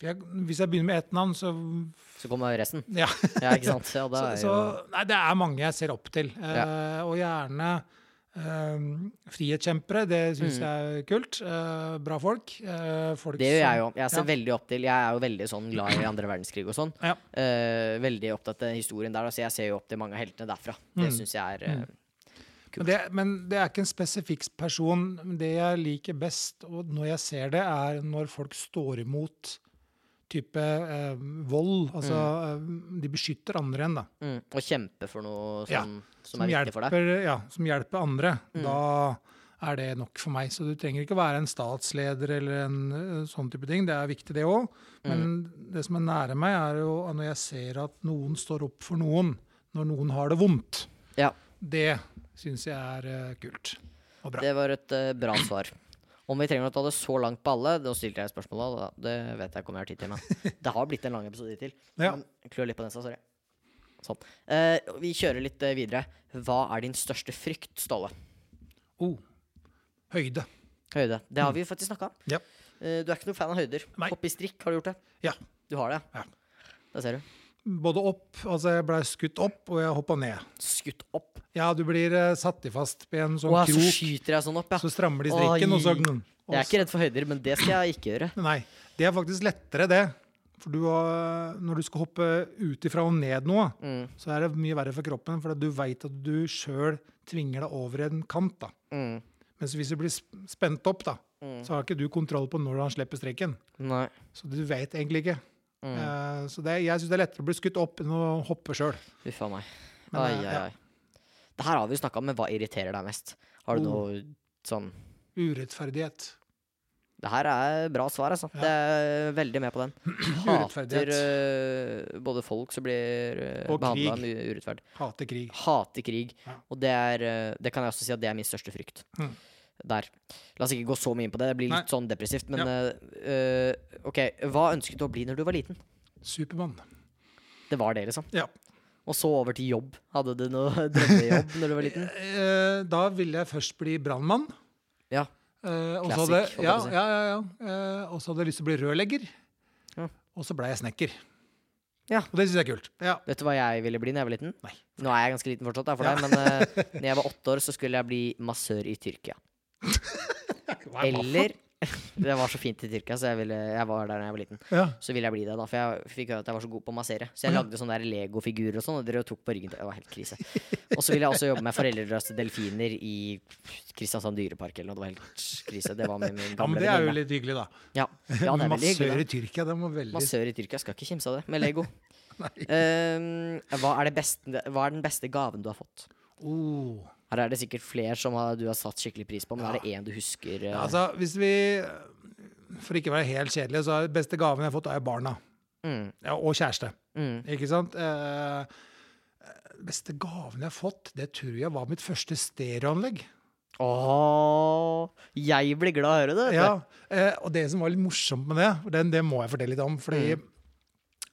[SPEAKER 1] for jeg, Hvis jeg begynner med ett navn, så
[SPEAKER 2] Så kommer resten.
[SPEAKER 1] Ja.
[SPEAKER 2] Ja, ikke sant? Ja, det
[SPEAKER 1] Så,
[SPEAKER 2] er
[SPEAKER 1] så,
[SPEAKER 2] jo
[SPEAKER 1] nei, det er mange jeg ser opp til. Eh, Og gjerne eh, frihetskjempere. Det syns jeg er kult. Eh, bra folk. Eh, folk
[SPEAKER 2] Mm. Det gjør
[SPEAKER 1] som-
[SPEAKER 2] jeg jo. Jeg ser
[SPEAKER 1] ja.
[SPEAKER 2] veldig opp til Jeg er jo veldig sånn glad i andre verdenskrig og sånn.
[SPEAKER 1] Ja.
[SPEAKER 2] Eh, veldig opptatt av den historien der. da, Så jeg ser jo opp til mange av heltene derfra. Det
[SPEAKER 1] Mm.
[SPEAKER 2] syns jeg er eh,
[SPEAKER 1] Men det, men det er ikke en spesifikk person. Men Det jeg liker best og når jeg ser det, er når folk står imot type eh, vold. Altså eh, de beskytter andre enn, da.
[SPEAKER 2] mm, Å kjempe for noe
[SPEAKER 1] Ja,
[SPEAKER 2] som, som er viktig for deg. Mm.
[SPEAKER 1] hjelper- Ja, som hjelper andre. Da er det nok for meg. Så du trenger ikke være en statsleder eller en eh, sånn type ting. Det er viktig, det òg. Men
[SPEAKER 2] Mm.
[SPEAKER 1] det som er nære meg, er jo at når jeg ser at noen står opp for noen når noen har det vondt.
[SPEAKER 2] Ja,
[SPEAKER 1] Det syns jeg er eh, kult og bra.
[SPEAKER 2] det var et eh, bra svar. Om vi trenger å ta det så langt på alle Nå stilte jeg spørsmålet, da. Det vet jeg ikke om jeg har tid til. Men det har blitt en lang episode til.
[SPEAKER 1] Ja.
[SPEAKER 2] Men Klør litt på nesa, sorry. Sånn. Eh, vi kjører litt eh, videre. Hva er din største frykt, Ståle?
[SPEAKER 1] Oh. Høyde.
[SPEAKER 2] Høyde. Det har vi faktisk snakka om.
[SPEAKER 1] Ja.
[SPEAKER 2] Eh, Du er ikke noen fan av høyder.
[SPEAKER 1] Mm. Nei.
[SPEAKER 2] Hoppe i strikk, har du gjort det?
[SPEAKER 1] ja.
[SPEAKER 2] Du har det?
[SPEAKER 1] Ja.
[SPEAKER 2] Det ser du.
[SPEAKER 1] Både opp Altså, jeg blei skutt opp, og jeg hoppa ned.
[SPEAKER 2] Skutt opp.
[SPEAKER 1] Ja, du blir eh, satt i fast på en sånn
[SPEAKER 2] Åh, så
[SPEAKER 1] krok,
[SPEAKER 2] skyter jeg sånn opp, ja.
[SPEAKER 1] så strammer de strikken, og så
[SPEAKER 2] Oi. Jeg er ikke redd for høyder, men det skal jeg ikke gjøre.
[SPEAKER 1] Nei, det er faktisk lettere det. For du har, når du skal hoppe ut ifra og ned noe,
[SPEAKER 2] Mm,
[SPEAKER 1] så er det mye verre for kroppen, for at du veit at du sjøl tvinger deg over en kant. da.
[SPEAKER 2] Mm.
[SPEAKER 1] Mens hvis du blir sp- spent opp, da, så har ikke du kontroll på når han slipper strikken.
[SPEAKER 2] Nei.
[SPEAKER 1] Så du veit egentlig ikke.
[SPEAKER 2] Mm.
[SPEAKER 1] Eh, så det, jeg syns det er lettere å bli skutt opp enn å hoppe sjøl.
[SPEAKER 2] Uff a meg.
[SPEAKER 1] Men,
[SPEAKER 2] Ai,
[SPEAKER 1] eh,
[SPEAKER 2] ai,
[SPEAKER 1] ja.
[SPEAKER 2] ai. Det her har vi jo snakka om, men hva irriterer deg mest? Har
[SPEAKER 1] Oh.
[SPEAKER 2] du noe sånn
[SPEAKER 1] Urettferdighet.
[SPEAKER 2] Det her er bra svar, altså. Det er veldig med på den. Hater eh, både folk som blir uh,
[SPEAKER 1] Og
[SPEAKER 2] behandla
[SPEAKER 1] krig.
[SPEAKER 2] mye urettferdig.
[SPEAKER 1] Hater krig.
[SPEAKER 2] Hater krig.
[SPEAKER 1] Ja.
[SPEAKER 2] Og det, er, eh, det kan jeg også si at det er min største frykt.
[SPEAKER 1] Mm.
[SPEAKER 2] Der. La oss ikke gå så mye inn på det. Det blir litt
[SPEAKER 1] Nei.
[SPEAKER 2] sånn depressivt. Men eh, eh, OK, hva ønsket du å bli når du var liten?
[SPEAKER 1] Supermann.
[SPEAKER 2] Det var det, liksom.
[SPEAKER 1] Ja.
[SPEAKER 2] Og så over til jobb. Hadde du noe drømmejobb når du var liten?
[SPEAKER 1] Eh, da ville jeg først bli brannmann.
[SPEAKER 2] Ja.
[SPEAKER 1] Eh, og så hadde,
[SPEAKER 2] Classic, holdt jeg
[SPEAKER 1] ja,
[SPEAKER 2] på å si.
[SPEAKER 1] ja, ja, ja. Eh, og så hadde jeg lyst til å bli rørlegger.
[SPEAKER 2] Ja.
[SPEAKER 1] Og så blei jeg snekker.
[SPEAKER 2] Ja.
[SPEAKER 1] Og det syns jeg er kult. Ja.
[SPEAKER 2] Vet du hva jeg ville bli når jeg var liten?
[SPEAKER 1] Nei.
[SPEAKER 2] Nå er jeg ganske liten fortsatt, da, for deg, men eh, når jeg var åtte år, så skulle jeg bli massør i Tyrkia.
[SPEAKER 1] Hva er det?
[SPEAKER 2] Eller Det var så fint i Tyrkia, så jeg, ville, jeg var der da jeg var liten.
[SPEAKER 1] Ja.
[SPEAKER 2] Så ville jeg bli det, da, for jeg fikk høre at jeg var så god på å massere.
[SPEAKER 1] Mhm.
[SPEAKER 2] Så jeg lagde sånne der legofigurer og sånn, og dere tok på ryggen. til- Det var helt krise. Og så ville jeg også jobbe med foreldreløse delfiner i Kristiansand dyrepark eller noe. Det var helt krise. Det var med
[SPEAKER 1] ja,
[SPEAKER 2] min gamle
[SPEAKER 1] men det er jo
[SPEAKER 2] venninne.
[SPEAKER 1] litt hyggelig, da.
[SPEAKER 2] Ja, ja, det er veldig hyggelig.
[SPEAKER 1] Massør
[SPEAKER 2] da.
[SPEAKER 1] i Tyrkia, det må veldig
[SPEAKER 2] Massør i Tyrkia, skal ikke kimse av det, med Lego. Ehm, hva, er det beste, hva er den beste gaven du har fått?
[SPEAKER 1] oh.
[SPEAKER 2] Her er det sikkert flere som har, du har satt skikkelig pris på, men er det én du husker? eh?
[SPEAKER 1] Altså, hvis vi eh, For ikke å være helt kjedelig, så er den beste gaven jeg har fått, er jo barna.
[SPEAKER 2] Mm,
[SPEAKER 1] Ja, og kjæreste.
[SPEAKER 2] mm.
[SPEAKER 1] Ikke sant? Eh, beste gaven jeg har fått, det tror jeg var mitt første stereoanlegg.
[SPEAKER 2] Åh, jeg blir glad av å høre det. vet du.
[SPEAKER 1] Ja, eh, og det som var litt morsomt med det, og den, det må jeg fortelle litt om, fordi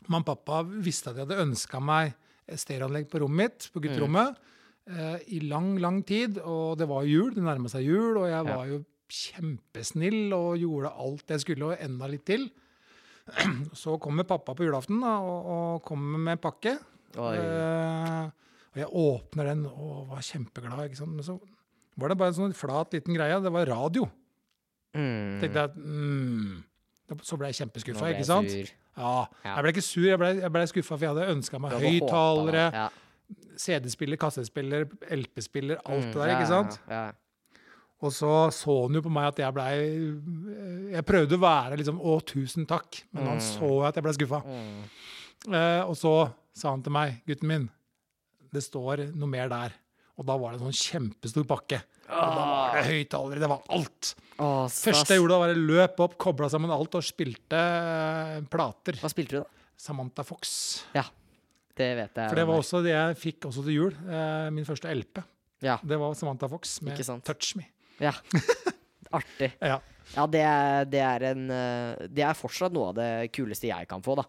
[SPEAKER 1] mamma og pappa visste at jeg hadde ønska meg et stereoanlegg på rommet mitt, på gutterommet, eh, i lang, lang tid. Og det var jul, det nærma seg jul, og jeg
[SPEAKER 2] Ja.
[SPEAKER 1] var jo kjempesnill og gjorde alt jeg skulle, og enda litt til. Så kommer pappa på julaften da, og, og kommer med en pakke.
[SPEAKER 2] Oi.
[SPEAKER 1] Eh, og jeg åpner den og var kjempeglad. Ikke sant? Men så var det bare en sånn flat, liten greie. Det var radio
[SPEAKER 2] Mm.
[SPEAKER 1] tenkte jeg at mm, da- Så ble jeg
[SPEAKER 2] Nå
[SPEAKER 1] kjempeskuffa,
[SPEAKER 2] ble jeg
[SPEAKER 1] ikke sant?
[SPEAKER 2] sur.
[SPEAKER 1] Ja.
[SPEAKER 2] Ja.
[SPEAKER 1] Jeg ble ikke sur, jeg ble, jeg ble skuffa, for jeg hadde ønska meg
[SPEAKER 2] Du hadde
[SPEAKER 1] høyttalere,
[SPEAKER 2] håpet, da. Ja.
[SPEAKER 1] CD-spiller, kassettspiller, LP-spiller, alt
[SPEAKER 2] Mm,
[SPEAKER 1] det der,
[SPEAKER 2] ja,
[SPEAKER 1] ikke sant?
[SPEAKER 2] Ja, ja.
[SPEAKER 1] Og så så han jo på meg at jeg blei eh, Jeg prøvde å være liksom Å, tusen takk, men han så at jeg blei skuffa.
[SPEAKER 2] Mm.
[SPEAKER 1] Eh, og så sa han til meg, gutten min, det står noe mer der. Og da var det en sånn kjempestor pakke. Og da var
[SPEAKER 2] Ah.
[SPEAKER 1] det høyttalere, det var alt.
[SPEAKER 2] Åh,
[SPEAKER 1] Ah, Første
[SPEAKER 2] stas.
[SPEAKER 1] jeg gjorde, da var jeg løp opp, kobla sammen alt og spilte eh, plater.
[SPEAKER 2] Hva spilte du, da?
[SPEAKER 1] Samantha Fox.
[SPEAKER 2] Ja. Det vet jeg.
[SPEAKER 1] For det
[SPEAKER 2] hvem
[SPEAKER 1] var
[SPEAKER 2] er.
[SPEAKER 1] også det jeg fikk også til jul. Eh, min første LP.
[SPEAKER 2] Ja.
[SPEAKER 1] Det var Samantha Fox med
[SPEAKER 2] Ikke sant.
[SPEAKER 1] 'Touch Me'.
[SPEAKER 2] ja. Artig.
[SPEAKER 1] Ja.
[SPEAKER 2] Ja, det er, det er en eh, Det er fortsatt noe av det kuleste jeg kan få, da.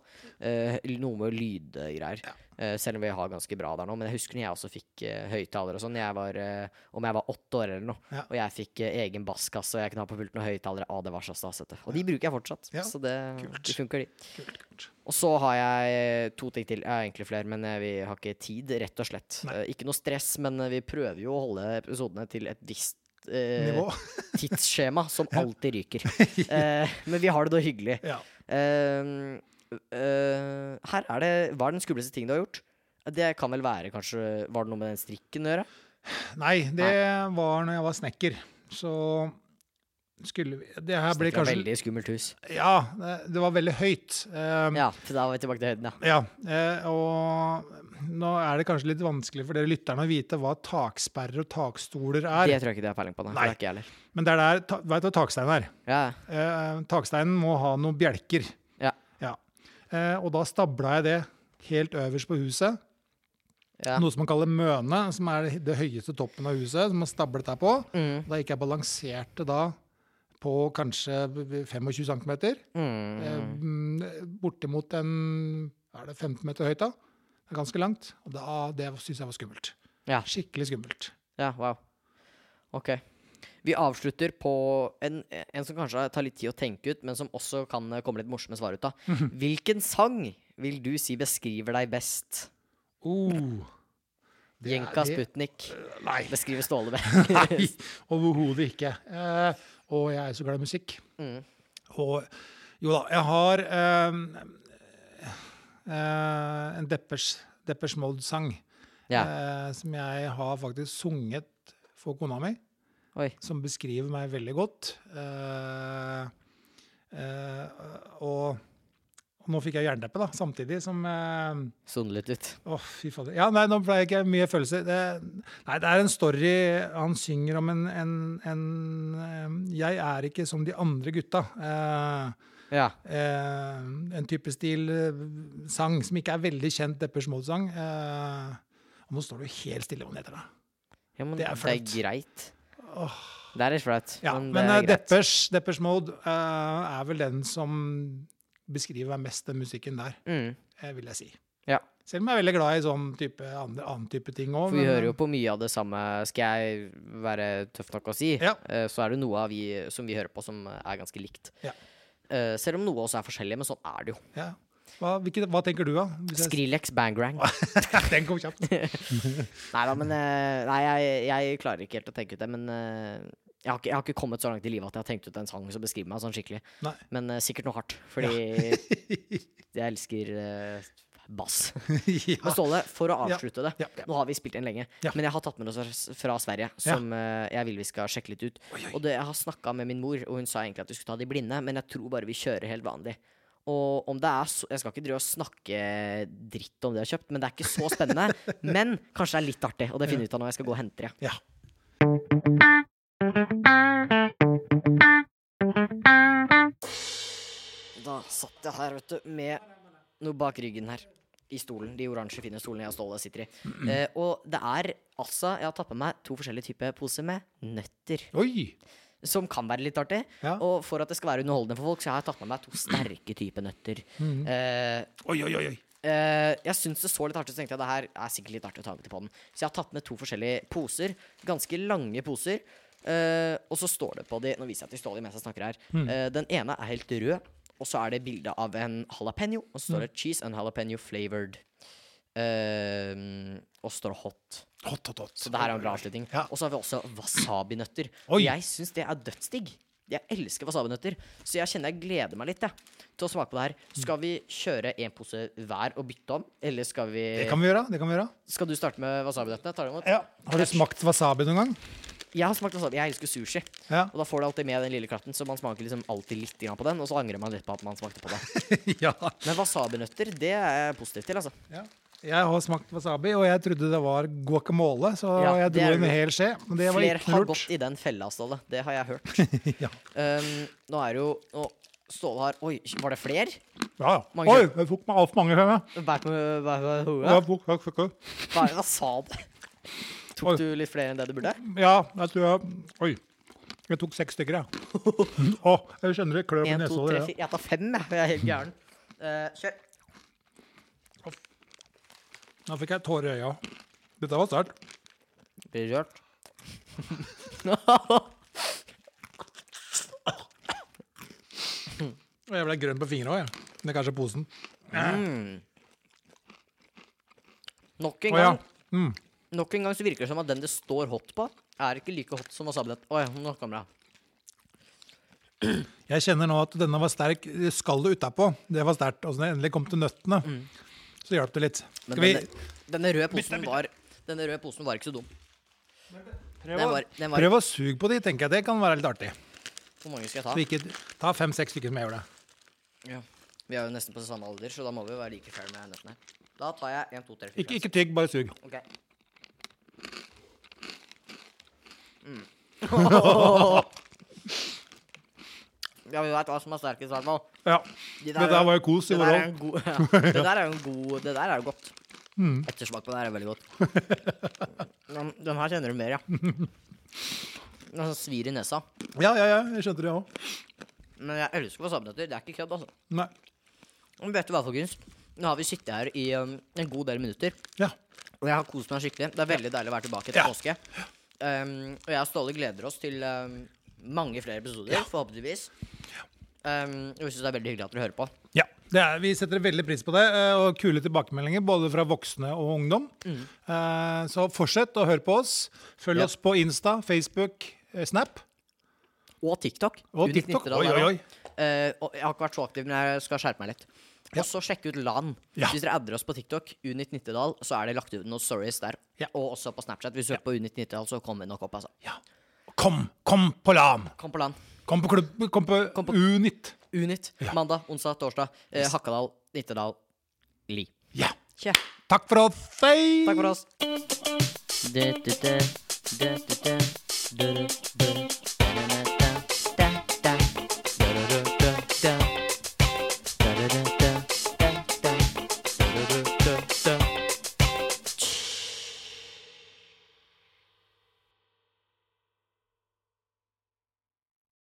[SPEAKER 2] Eh, noe med lydgreier. Eh, selv om vi har ganske bra der nå. Men jeg husker når jeg også fikk uh, høyttaler og sånn. Jeg var, eh, Om jeg var åtte år eller noe.
[SPEAKER 1] Ja.
[SPEAKER 2] Og jeg fikk eh, egen basskasse, og jeg kunne ha på pulten og høyttalere. Å, det var så stas, dette. Og de bruker jeg fortsatt.
[SPEAKER 1] Ja,
[SPEAKER 2] Så det,
[SPEAKER 1] kult.
[SPEAKER 2] det funker, de.
[SPEAKER 1] Kult, kult.
[SPEAKER 2] Og så har jeg eh, to ting til. Jeg har egentlig flere, men eh, vi har ikke tid, rett og slett.
[SPEAKER 1] Nei.
[SPEAKER 2] Eh, ikke noe stress, men eh, vi prøver jo å holde episodene til et visst eh,
[SPEAKER 1] Nivå.
[SPEAKER 2] tidsskjema som alltid ryker. Eh, men vi har det da hyggelig.
[SPEAKER 1] Ja.
[SPEAKER 2] Eh, eh, her er det Hva er den skumleste ting du har gjort? Det kan vel være kanskje Var det noe med den strikken å gjøre?
[SPEAKER 1] Nei, det var når jeg var snekker. Så skulle vi Det her blir
[SPEAKER 2] Snekker av
[SPEAKER 1] kanskje
[SPEAKER 2] Veldig skummelt hus.
[SPEAKER 1] Ja, det- det var veldig høyt. Eh,
[SPEAKER 2] Ja, for da var vi tilbake til høyden, ja.
[SPEAKER 1] Ja, eh, og nå er det kanskje litt vanskelig for dere lytterne å vite hva taksperrer og takstoler er.
[SPEAKER 2] Det tror jeg ikke de har peiling på. Nei. Det
[SPEAKER 1] Nei.
[SPEAKER 2] er ikke jeg heller.
[SPEAKER 1] Men det er der ta, Vet du hva taksteinen er?
[SPEAKER 2] Ja,
[SPEAKER 1] Eh, taksteinen må ha noen bjelker.
[SPEAKER 2] Ja.
[SPEAKER 1] Eh, og da stabla jeg det helt øverst på huset.
[SPEAKER 2] ja.
[SPEAKER 1] Noe som man kaller møne, som er det høyeste toppen av huset. som man stablet der på.
[SPEAKER 2] Mm,
[SPEAKER 1] Da gikk jeg og balanserte da på kanskje 25 cm.
[SPEAKER 2] mm.
[SPEAKER 1] Bortimot en Er det 15 meter høyt, da? Det er ganske langt. Og da, det syns jeg var skummelt.
[SPEAKER 2] Ja.
[SPEAKER 1] Skikkelig skummelt.
[SPEAKER 2] ja, wow. Ok. Vi avslutter på en, en som kanskje tar litt tid å tenke ut, men som også kan eh, komme litt morsomme svar ut av.
[SPEAKER 1] Mhm.
[SPEAKER 2] Hvilken sang vil du si beskriver deg best?
[SPEAKER 1] Oh. Det er-
[SPEAKER 2] Jenka
[SPEAKER 1] det-
[SPEAKER 2] Sputnik.
[SPEAKER 1] Nei.
[SPEAKER 2] Beskriver Ståle
[SPEAKER 1] Nei,
[SPEAKER 2] best.
[SPEAKER 1] overhodet ikke. Eh, og jeg er så glad i musikk.
[SPEAKER 2] Mm.
[SPEAKER 1] Og jo da, jeg har eh, eh, en Deppers, Deppers Mode-sang
[SPEAKER 2] Ja.
[SPEAKER 1] eh, som jeg har faktisk sunget for kona mi,
[SPEAKER 2] Oi.
[SPEAKER 1] som beskriver meg veldig godt. Eh, eh, og, og nå fikk jeg jernteppe, da, samtidig som eh,
[SPEAKER 2] Sonlet ut.
[SPEAKER 1] Åh, fy fader. Ja, nei, nå ble jeg ikke mye følelser. Det, nei, det er en story han synger om en, en, en eh, Jeg er ikke som de andre gutta. Eh,
[SPEAKER 2] Ja.
[SPEAKER 1] eh, en type stil eh, sang som ikke er veldig kjent, Deppers Mode-sang. Eh, og nå står du helt stille om det heter det.
[SPEAKER 2] ja men
[SPEAKER 1] Det
[SPEAKER 2] det
[SPEAKER 1] er
[SPEAKER 2] er,
[SPEAKER 1] flaut.
[SPEAKER 2] greit. Det er litt flaut,
[SPEAKER 1] Ja,
[SPEAKER 2] men
[SPEAKER 1] men,
[SPEAKER 2] Sånn, det
[SPEAKER 1] eh,
[SPEAKER 2] er greit.
[SPEAKER 1] Deppers, Deppers Mode eh, er vel den som beskriver meg mest, den musikken der,
[SPEAKER 2] Mm.
[SPEAKER 1] eh, vil jeg si.
[SPEAKER 2] Ja.
[SPEAKER 1] Selv om jeg er veldig glad i sånn type, andre, annen type ting òg.
[SPEAKER 2] For vi hører jo på mye av det samme, skal jeg være tøff nok å si.
[SPEAKER 1] Ja.
[SPEAKER 2] eh, Så er det noe av vi, som vi hører på som er ganske likt.
[SPEAKER 1] Ja.
[SPEAKER 2] Eh, Selv om noe også er forskjellig, men sånn er det jo.
[SPEAKER 1] Ja. Hva, hvilke, hva tenker du, da? Hvis jeg-
[SPEAKER 2] Skrillex, bangrang.
[SPEAKER 1] Den kom kjapt.
[SPEAKER 2] Nei da, men eh, Nei, jeg, jeg klarer ikke helt å tenke ut det, men eh, jeg har, ikke, jeg har ikke kommet så langt i livet at jeg har tenkt ut en sang som beskriver meg sånn skikkelig.
[SPEAKER 1] Nei.
[SPEAKER 2] Men eh, sikkert noe hardt, fordi jeg elsker eh, bass. Men
[SPEAKER 1] ja.
[SPEAKER 2] Ståle, for å
[SPEAKER 1] Ja.
[SPEAKER 2] avslutte det.
[SPEAKER 1] Ja, ja.
[SPEAKER 2] Nå har vi spilt inn lenge,
[SPEAKER 1] Ja.
[SPEAKER 2] men jeg har tatt med noe fra- fra Sverige som eh, jeg vil vi skal sjekke litt ut. Og det, jeg har snakka med min mor, og hun sa egentlig at vi skulle ta de blinde, men jeg tror bare vi kjører helt vanlig. Og om det er så, Jeg skal ikke drive og snakke dritt om det jeg har kjøpt, men det er ikke så spennende. men kanskje det er litt artig, og det finner vi ut av når jeg skal gå og hente det.
[SPEAKER 1] ja.
[SPEAKER 2] Da satt jeg her, vet du, med noe bak ryggen her. I stolen. De oransje, fine stolene jeg og Ståle sitter i. Eh, og det er altså Jeg har tatt med meg to forskjellige typer poser med nøtter.
[SPEAKER 1] Oi!
[SPEAKER 2] Som kan være litt artig.
[SPEAKER 1] Ja.
[SPEAKER 2] Og for at det skal være underholdende for folk, så har jeg tatt med meg to sterke typer nøtter. Eh,
[SPEAKER 1] Oi, oi, oi, oi.
[SPEAKER 2] eh, jeg syns det så litt artig ut, så tenkte jeg det her er sikkert litt artig å ta med til podden. Så jeg har tatt med to forskjellige poser. Ganske lange poser. Eh, og så står det på de Nå viser jeg til Ståle mens jeg snakker her. Eh, den ene er helt rød, og så er det bilde av en jalapeño. Og så står det 'cheese and jalapeño flavored'. Eh, og så står det 'hot'.
[SPEAKER 1] Hot, hot, hot.
[SPEAKER 2] Så det her er en bra avslutning.
[SPEAKER 1] Ja.
[SPEAKER 2] Og så har vi også wasabinøtter.
[SPEAKER 1] Oi.
[SPEAKER 2] Og jeg syns det er dødsdigg. Jeg elsker wasabinøtter, så jeg kjenner jeg gleder meg litt jeg, til å smake på det her. Skal vi kjøre én pose hver og bytte om, eller skal vi
[SPEAKER 1] Det kan vi gjøre. det kan vi gjøre.
[SPEAKER 2] Skal du starte med wasabinøttene? Tar du imot?
[SPEAKER 1] Har du smakt wasabi noen gang?
[SPEAKER 2] Jeg har smakt wasabi. Jeg elsker sushi.
[SPEAKER 1] Ja.
[SPEAKER 2] Og da får du alltid med den lille klatten, så man smaker liksom alltid litt grann på den, og så angrer man litt på at man smakte på det.
[SPEAKER 1] ja.
[SPEAKER 2] Men wasabinøtter, det er jeg positiv til, altså.
[SPEAKER 1] ja. Jeg har smakt wasabi, og jeg trodde det var guacamole, så
[SPEAKER 2] Ja,
[SPEAKER 1] jeg
[SPEAKER 2] det
[SPEAKER 1] dro
[SPEAKER 2] er
[SPEAKER 1] en
[SPEAKER 2] lurt.
[SPEAKER 1] hel skje. Men det var
[SPEAKER 2] Flere
[SPEAKER 1] ikke
[SPEAKER 2] har
[SPEAKER 1] lurt.
[SPEAKER 2] gått i den fella, Ståle. Det har jeg hørt.
[SPEAKER 1] Ja.
[SPEAKER 2] Um, nå er det jo nå, Ståle har Oi, var det fler?
[SPEAKER 1] Ja, ja.
[SPEAKER 2] Mange-
[SPEAKER 1] Oi, jeg tok meg altfor mange fem, jeg.
[SPEAKER 2] Bært med, bært med hodet.
[SPEAKER 1] Jeg tok- jeg tok-
[SPEAKER 2] Hva, hva sa du?
[SPEAKER 1] Oi.
[SPEAKER 2] Tok du litt flere enn det du burde?
[SPEAKER 1] Ja, jeg tror jeg Oi. Jeg tok seks stykker, jeg. Å, jeg skjønner det klør på
[SPEAKER 2] En,
[SPEAKER 1] nesa.
[SPEAKER 2] to,
[SPEAKER 1] over
[SPEAKER 2] tre,
[SPEAKER 1] det, ja.
[SPEAKER 2] fire. Jeg tar fem, jeg. Jeg er helt gæren. Eh, kjør.
[SPEAKER 1] Nå fikk jeg tårer i øya. Dette var sterkt.
[SPEAKER 2] Blir rørt.
[SPEAKER 1] Og jeg ble grønn på fingra òg, jeg. Det er kanskje posen.
[SPEAKER 2] Nok en
[SPEAKER 1] Å ja.
[SPEAKER 2] gang.
[SPEAKER 1] Mm.
[SPEAKER 2] Nok en gang så virker det som at den det står hot på, er ikke like hot som wasabi-den. Oi, nå kommer jeg.
[SPEAKER 1] Jeg kjenner nå at denne var sterk. Skallet utapå, det var sterkt. Og så når jeg endelig kom til nøttene, så hjalp det litt.
[SPEAKER 2] Mm. Men
[SPEAKER 1] Skal vi
[SPEAKER 2] denne, denne, røde posen var, denne røde posen var ikke så dum. Den
[SPEAKER 1] å-
[SPEAKER 2] var, den var,
[SPEAKER 1] prøve å suge på de, tenker jeg. Det kan være litt artig.
[SPEAKER 2] hvor mange skal
[SPEAKER 1] Så vi
[SPEAKER 2] jeg ta?
[SPEAKER 1] ikke ta fem-seks stykker som jeg gjorde.
[SPEAKER 2] Ja. Vi er jo nesten på samme alder, så da må vi jo være like fair med nøttene. Da tar jeg 1, 2, 3, 4.
[SPEAKER 1] Ikke, ikke tygg, bare sug.
[SPEAKER 2] Ok. Mm. ja, vi veit hva som er sterkest, i hvert fall.
[SPEAKER 1] Ja.
[SPEAKER 2] De
[SPEAKER 1] Dette her var jo kos i
[SPEAKER 2] det
[SPEAKER 1] vår
[SPEAKER 2] der er
[SPEAKER 1] ånd.
[SPEAKER 2] en god, ja. Det der er jo en god Det der er jo godt.
[SPEAKER 1] Mm.
[SPEAKER 2] Ettersmak på det her er veldig godt. Den, den her kjenner du mer, ja. Den sånn svir i nesa.
[SPEAKER 1] Ja, ja, ja. Jeg skjønte det òg.
[SPEAKER 2] Men jeg elsker wasabinøtter. Det er ikke kødd, altså.
[SPEAKER 1] Nei.
[SPEAKER 2] Men vet du hva, folkens? Nå har vi sittet her i um, en god del minutter.
[SPEAKER 1] Ja.
[SPEAKER 2] Og jeg har kost meg skikkelig. Det er veldig deilig å være tilbake etter
[SPEAKER 1] Ja.
[SPEAKER 2] påske. Um, og jeg og Ståle gleder oss til um, mange flere episoder, forhåpentligvis. Um, og vi syns det er veldig hyggelig at dere hører på.
[SPEAKER 1] Ja, det er, Vi setter veldig pris på det, eh, og kule tilbakemeldinger både fra voksne og ungdom. Eh, Så fortsett å høre på oss. Følg
[SPEAKER 2] Mm. Ja.
[SPEAKER 1] oss på Insta, Facebook, eh, Snap
[SPEAKER 2] Og TikTok.
[SPEAKER 1] og
[SPEAKER 2] Unit
[SPEAKER 1] TikTok.
[SPEAKER 2] Nittedal
[SPEAKER 1] Oi,
[SPEAKER 2] er
[SPEAKER 1] oi,
[SPEAKER 2] da.
[SPEAKER 1] oi.
[SPEAKER 2] Eh, og jeg har ikke vært så aktiv, men jeg skal skjerpe meg litt. Og så sjekke ut LAN.
[SPEAKER 1] Ja.
[SPEAKER 2] Hvis dere adder oss på TikTok, Unit Nittedal, så er det lagt ut noen stories der.
[SPEAKER 1] Ja.
[SPEAKER 2] Og også på Snapchat. Hvis du søker på Unit Nittedal, så kommer vi nok opp, altså.
[SPEAKER 1] Ja. Kom, kom på LAN!
[SPEAKER 2] Kom på LAN.
[SPEAKER 1] Kom på klubb, kom på,
[SPEAKER 2] Kom på-
[SPEAKER 1] Unit.
[SPEAKER 2] Unit. Mandag, onsdag, torsdag. Eh, Hakadal, Nittedal, Li.
[SPEAKER 1] Ja.
[SPEAKER 2] Tja.
[SPEAKER 1] Takk for oss. Hei!
[SPEAKER 2] Takk for oss.